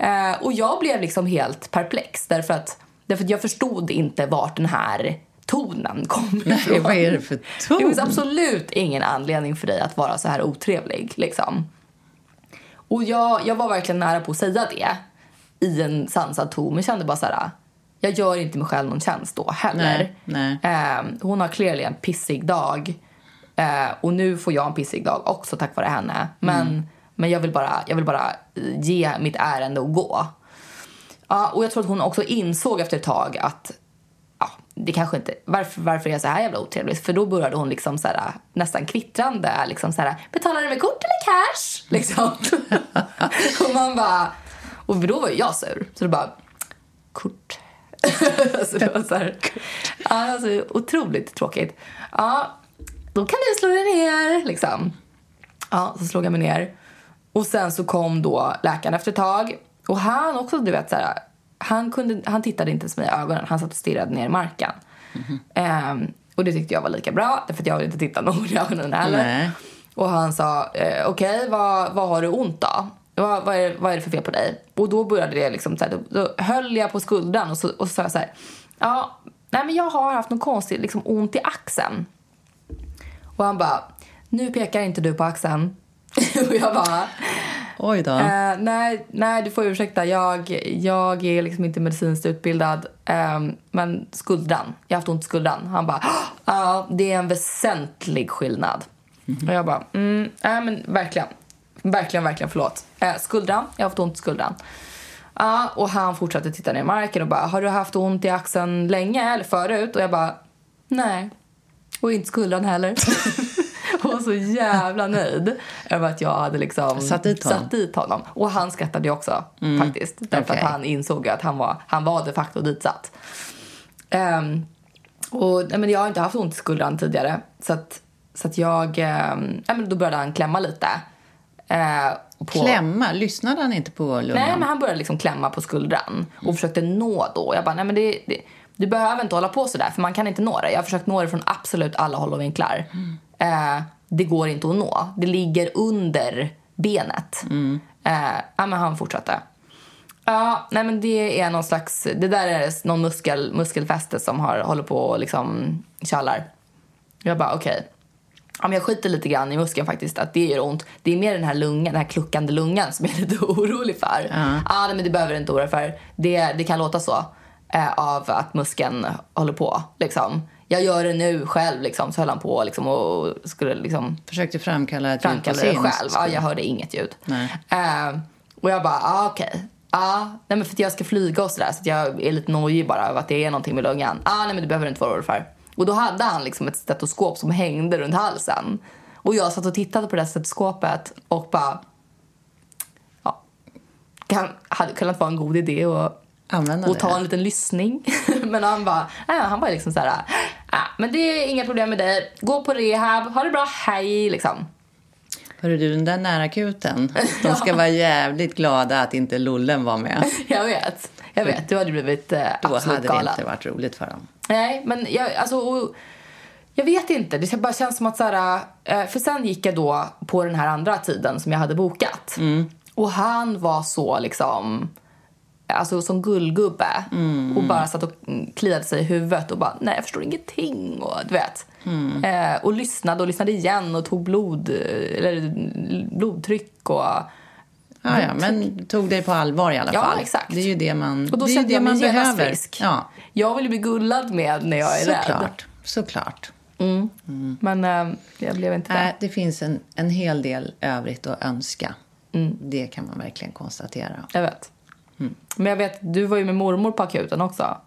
Speaker 4: Eh, och jag blev liksom helt perplex därför att, därför att jag förstod inte vart den här tonen kom
Speaker 3: (laughs)
Speaker 4: ifrån.
Speaker 3: vad är det för ton?
Speaker 4: Det finns absolut ingen anledning för dig att vara så här otrevlig liksom. Och jag, jag var verkligen nära på att säga det i en sansad ton men kände bara så här. Jag gör inte mig själv någon tjänst då heller.
Speaker 3: Nej,
Speaker 4: Eh, hon har clearly en pissig dag. Eh, och nu får jag en pissig dag också tack vare henne. Men,
Speaker 3: Mm.
Speaker 4: men jag, vill bara, jag vill bara ge mitt ärende och gå. Ja, och jag tror att hon också insåg efter ett tag att ja, det kanske inte, varför, varför är jag så här jävla otrevlig? För då började hon liksom så här, nästan kvittrande. Liksom så här, Betalar du med kort eller cash? Liksom. (laughs) och man bara... Och då var ju jag sur. Så det bara... Kort. (laughs) så det var så här, ja, alltså, otroligt tråkigt. Ja, då kan du slå dig ner. Liksom. Ja, så slog jag mig ner. Och sen så kom då läkaren efter ett tag. Och han också, du vet så här, han, kunde, han tittade inte ens mig i ögonen. Han satt och stirrade ner i marken. Ehm, och det tyckte jag var lika bra, för att jag vill inte titta (laughs) någon i ögonen heller.
Speaker 3: Nej.
Speaker 4: Och han sa, eh, okej, vad, vad har du ont då? Vad, vad, är, vad är det för fel på dig? Och då började det liksom så här, då, då höll jag på skuldran och så, och så sa jag så här, ja, nej men jag har haft någon konstig liksom ont i axeln. Och han bara, nu pekar inte du på axeln. (laughs) och jag bara,
Speaker 3: Oj då.
Speaker 4: Eh, nej, nej, du får ursäkta. Jag, jag är liksom inte medicinskt utbildad. Ehm, men skuldran. Jag har haft ont i skuldran. Han bara, ja, det är en väsentlig skillnad.
Speaker 3: Mhm.
Speaker 4: Och jag bara, mm, nej men verkligen. Verkligen, verkligen förlåt. Eh, skuldran, jag har haft ont i skuldran. Ja, och han fortsatte titta ner i marken och bara, har du haft ont i axeln länge eller förut? Och jag bara, nej. Och inte skuldran heller. (laughs) och var så jävla nöjd över att jag hade liksom
Speaker 3: Satt dit honom. Mm.
Speaker 4: dit honom. Och han skrattade ju också faktiskt. Därför
Speaker 3: okej.
Speaker 4: att han insåg ju att han var, han var de facto ditsatt. Ehm, och, nej, men jag har inte haft ont i skuldran tidigare. Så att, så att jag... ehm, nej, men då började han klämma lite. eh, på,
Speaker 3: Klämma, lyssnade han inte på
Speaker 4: Nej,
Speaker 3: lungan?
Speaker 4: men han började liksom klämma på skuldran och försökte nå då. Jag bara, nej men det, det, du behöver inte hålla på sådär för man kan inte nå det. Jag har försökt nå det från absolut alla håll och vinklar. Eh, det går inte att nå. Det ligger under benet. Eh, ja, men han fortsatte. Ja, nej men det är någon slags, det där är någon muskel, muskelfäste som har, håller på och liksom tjallar. Jag bara okej. Ja, men jag skiter lite grann i muskeln faktiskt, att det gör ont. Det är mer den här lungan, den här kluckande lungan som jag är lite (laughs) orolig för. Ah, nej, men det behöver du inte oroa dig för. Det, det kan låta så eh, av att muskeln håller på liksom. Jag gör det nu själv liksom, så höll han på liksom, och skulle liksom
Speaker 3: Försökte framkalla ett ljud på
Speaker 4: framkallade det
Speaker 3: scen.
Speaker 4: själv. Ja, jag hörde inget ljud.
Speaker 3: Nej.
Speaker 4: Eh, och jag bara, ah, okej. Ah, nej, men för att jag ska flyga och sådär så att jag är lite nojig bara över att det är någonting med lungan. Ah, nej men det behöver du inte vara orolig för. Och då hade han liksom ett stetoskop som hängde runt halsen. Och jag satt och tittade på det här stetoskopet och bara, ja. Kan, hade kunnat vara en god idé och
Speaker 3: Använda
Speaker 4: och ta en
Speaker 3: det.
Speaker 4: liten lyssning. (laughs) men han bara, äh, han var liksom så här, äh, men det är inga problem med dig. Gå på rehab, ha det bra, hej liksom.
Speaker 3: Hörru du, den där
Speaker 4: (laughs)
Speaker 3: närakuten. De ska vara jävligt glada att inte lollen var
Speaker 4: (laughs)
Speaker 3: med.
Speaker 4: Jag vet. Jag vet, du hade blivit eh,
Speaker 3: Då
Speaker 4: absolut
Speaker 3: hade
Speaker 4: galen.
Speaker 3: det inte varit roligt för dem.
Speaker 4: Nej, men jag, alltså, och, jag vet inte. Det bara känns som att så här, eh, För sen gick jag då på den här andra tiden som jag hade bokat.
Speaker 3: Mm.
Speaker 4: Och han var så liksom... Alltså som gullgubbe. Och bara satt och mm, kliade sig i huvudet och bara nej jag förstår ingenting. Och du vet.
Speaker 3: Mm.
Speaker 4: Eh, och lyssnade och lyssnade igen och tog blod, eller, blodtryck och
Speaker 3: Ja, ja, men tog dig på allvar i alla
Speaker 4: Ja,
Speaker 3: fall.
Speaker 4: exakt.
Speaker 3: Det är ju det man,
Speaker 4: Och
Speaker 3: det
Speaker 4: då
Speaker 3: är ju
Speaker 4: kände
Speaker 3: det
Speaker 4: jag mig
Speaker 3: man
Speaker 4: genast
Speaker 3: behöver.
Speaker 4: frisk.
Speaker 3: Ja,
Speaker 4: Jag vill ju bli gullad med när jag är rädd. Mm.
Speaker 3: såklart. Såklart.
Speaker 4: Men eh, jag blev inte det.
Speaker 3: Nej, det finns en, en hel del övrigt att önska.
Speaker 4: Mm.
Speaker 3: Det kan man verkligen konstatera.
Speaker 4: Jag vet. Men jag vet, du var ju med mormor på akuten också.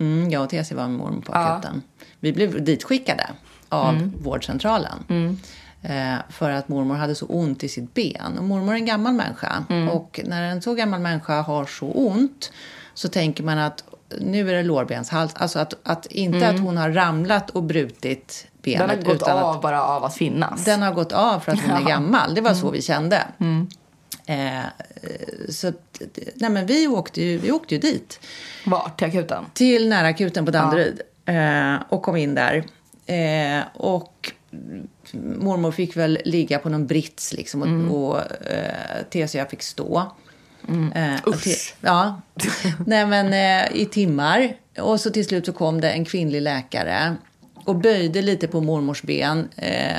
Speaker 3: Mm, jag och Tessie var med mormor på akuten. Vi blev ditskickade av
Speaker 4: Mm.
Speaker 3: vårdcentralen. Eh, För att mormor hade så ont i sitt ben. Och mormor är en gammal människa.
Speaker 4: Mm.
Speaker 3: Och när en så gammal människa har så ont så tänker man att nu är det lårbenshals. Alltså att, att inte att hon har ramlat och brutit benet.
Speaker 4: Mm. Den har gått
Speaker 3: utan
Speaker 4: av
Speaker 3: att
Speaker 4: bara av att finnas.
Speaker 3: den har gått av för att
Speaker 4: (laughs)
Speaker 3: hon är gammal. Det var
Speaker 4: Mm.
Speaker 3: så vi kände. Eh, eh, så, att, nej men vi åkte ju, vi åkte ju dit
Speaker 4: Vart? Till akuten?
Speaker 3: till närakuten på Danderyd eh, och kom in där. Eh, och mormor fick väl ligga på någon brits liksom och,
Speaker 4: Mm.
Speaker 3: och eh, Tess och jag fick stå. Eh, och
Speaker 4: Usch.
Speaker 3: Te-
Speaker 4: (laughs)
Speaker 3: ja. Nej men eh, i timmar. Och så till slut så kom det en kvinnlig läkare och böjde lite på mormors ben eh,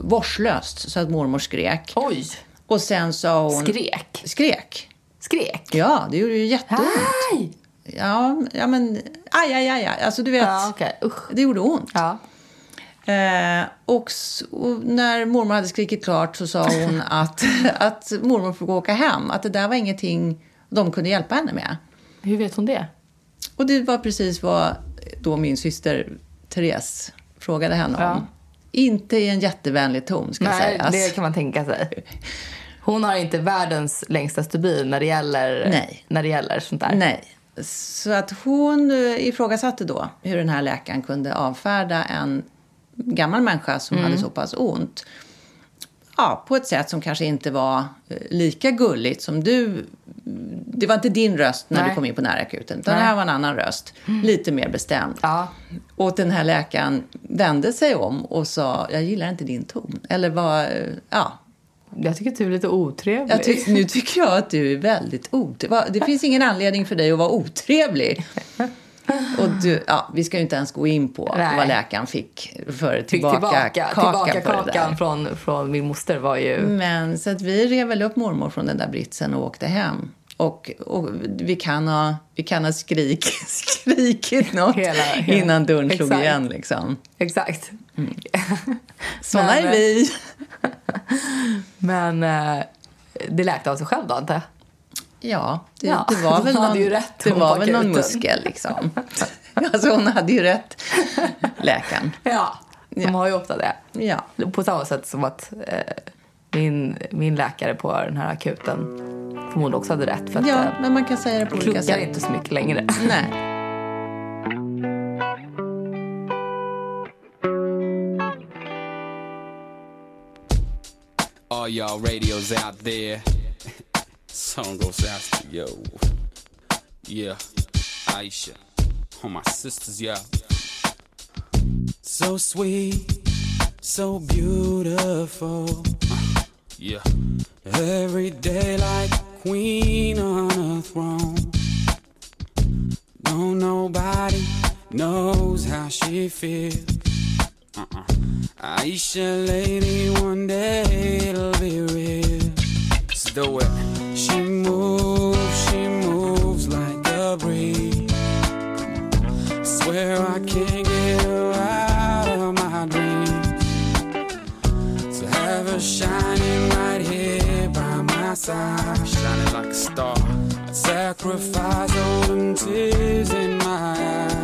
Speaker 3: vårdslöst så att mormor skrek.
Speaker 4: Oj!
Speaker 3: Och sen sa hon...
Speaker 4: Skrek?
Speaker 3: Skrek.
Speaker 4: Skrek?
Speaker 3: Ja, det gjorde ju jätteont.
Speaker 4: Aj!
Speaker 3: Ja, ja men aj, aj, aj, aj. Alltså du vet.
Speaker 4: Ja, okej. Usch.
Speaker 3: Det gjorde ont.
Speaker 4: Ja.
Speaker 3: Eh, och, s- och när mormor hade skrikit klart så sa
Speaker 4: (laughs)
Speaker 3: hon att, att mormor fick åka hem. Att det där var ingenting de kunde hjälpa henne med.
Speaker 4: Hur vet hon det?
Speaker 3: Och det var precis vad då min syster Therese frågade henne om.
Speaker 4: Ja.
Speaker 3: Inte i en jättevänlig ton ska
Speaker 4: Nej,
Speaker 3: sägas.
Speaker 4: det kan man tänka sig. Hon har inte världens längsta stubin när det gäller,
Speaker 3: Nej.
Speaker 4: När det gäller sånt där.
Speaker 3: Nej. Så att hon eh, ifrågasatte då hur den här läkaren kunde avfärda en gammal människa som
Speaker 4: Mm.
Speaker 3: hade så pass ont. Ja, på ett sätt som kanske inte var eh, lika gulligt som du. Det var inte din röst när
Speaker 4: Nej.
Speaker 3: du kom in på närakuten, utan det här var en annan röst. Lite mer bestämd.
Speaker 4: Ja.
Speaker 3: Och den här läkaren vände sig om och sa, jag gillar inte din ton. Eller var, eh, ja,
Speaker 4: Jag tycker att du är lite otrevlig.
Speaker 3: jag tyck, nu tycker jag att du är väldigt otrevlig. Det finns ingen anledning för dig att vara otrevlig. Och du, ja, vi ska ju inte ens gå in på
Speaker 4: Nej.
Speaker 3: vad läkaren fick för
Speaker 4: Fick tillbaka, tillbaka
Speaker 3: kaka
Speaker 4: kakan,
Speaker 3: för det där. Mm.
Speaker 4: från, från min moster var ju...
Speaker 3: Men så att vi rev väl upp mormor från den där britsen och åkte hem. Och, och vi kan ha, vi kan ha skrik, (laughs) skrikit något
Speaker 4: Hela- hela-
Speaker 3: innan dörren slog
Speaker 4: exakt.
Speaker 3: igen. Liksom.
Speaker 4: Exakt.
Speaker 3: Mm. Såna
Speaker 4: Men- eh,
Speaker 3: är vi.
Speaker 4: Men eh, det läkte av sig själv då, antar jag?
Speaker 3: Ja, det,
Speaker 4: Ja,
Speaker 3: det var
Speaker 4: (laughs) hon
Speaker 3: väl
Speaker 4: hade
Speaker 3: någon,
Speaker 4: ju rätt,
Speaker 3: det
Speaker 4: hon
Speaker 3: var
Speaker 4: på
Speaker 3: väl någon
Speaker 4: akuten.
Speaker 3: muskel liksom. (laughs) Alltså hon hade ju rätt, läkaren.
Speaker 4: Ja, de
Speaker 3: Ja.
Speaker 4: har ju ofta det.
Speaker 3: Ja.
Speaker 4: På samma sätt som att eh, min, min läkare på den här akuten förmodligen också hade rätt. För att
Speaker 3: ja,
Speaker 4: eh,
Speaker 3: men man kan säga det på olika
Speaker 4: kluckar
Speaker 3: sätt.
Speaker 4: inte så mycket längre.
Speaker 3: Nej.
Speaker 7: All y'all radios out there. (laughs) Song goes out to yo. Yeah, Aisha. All my sisters, y'all. So sweet, so (laughs) beautiful. Uh, yeah. Every day like queen on a throne. No, nobody knows how she feels. Uh-uh. Aisha, lady, one day it'll be real. Let's do it. She moves, she moves like a breeze. Swear I can't get her out of my dreams. So have her shining right here by my side, shining like a star. I'd sacrifice all them tears in my eyes. Oh,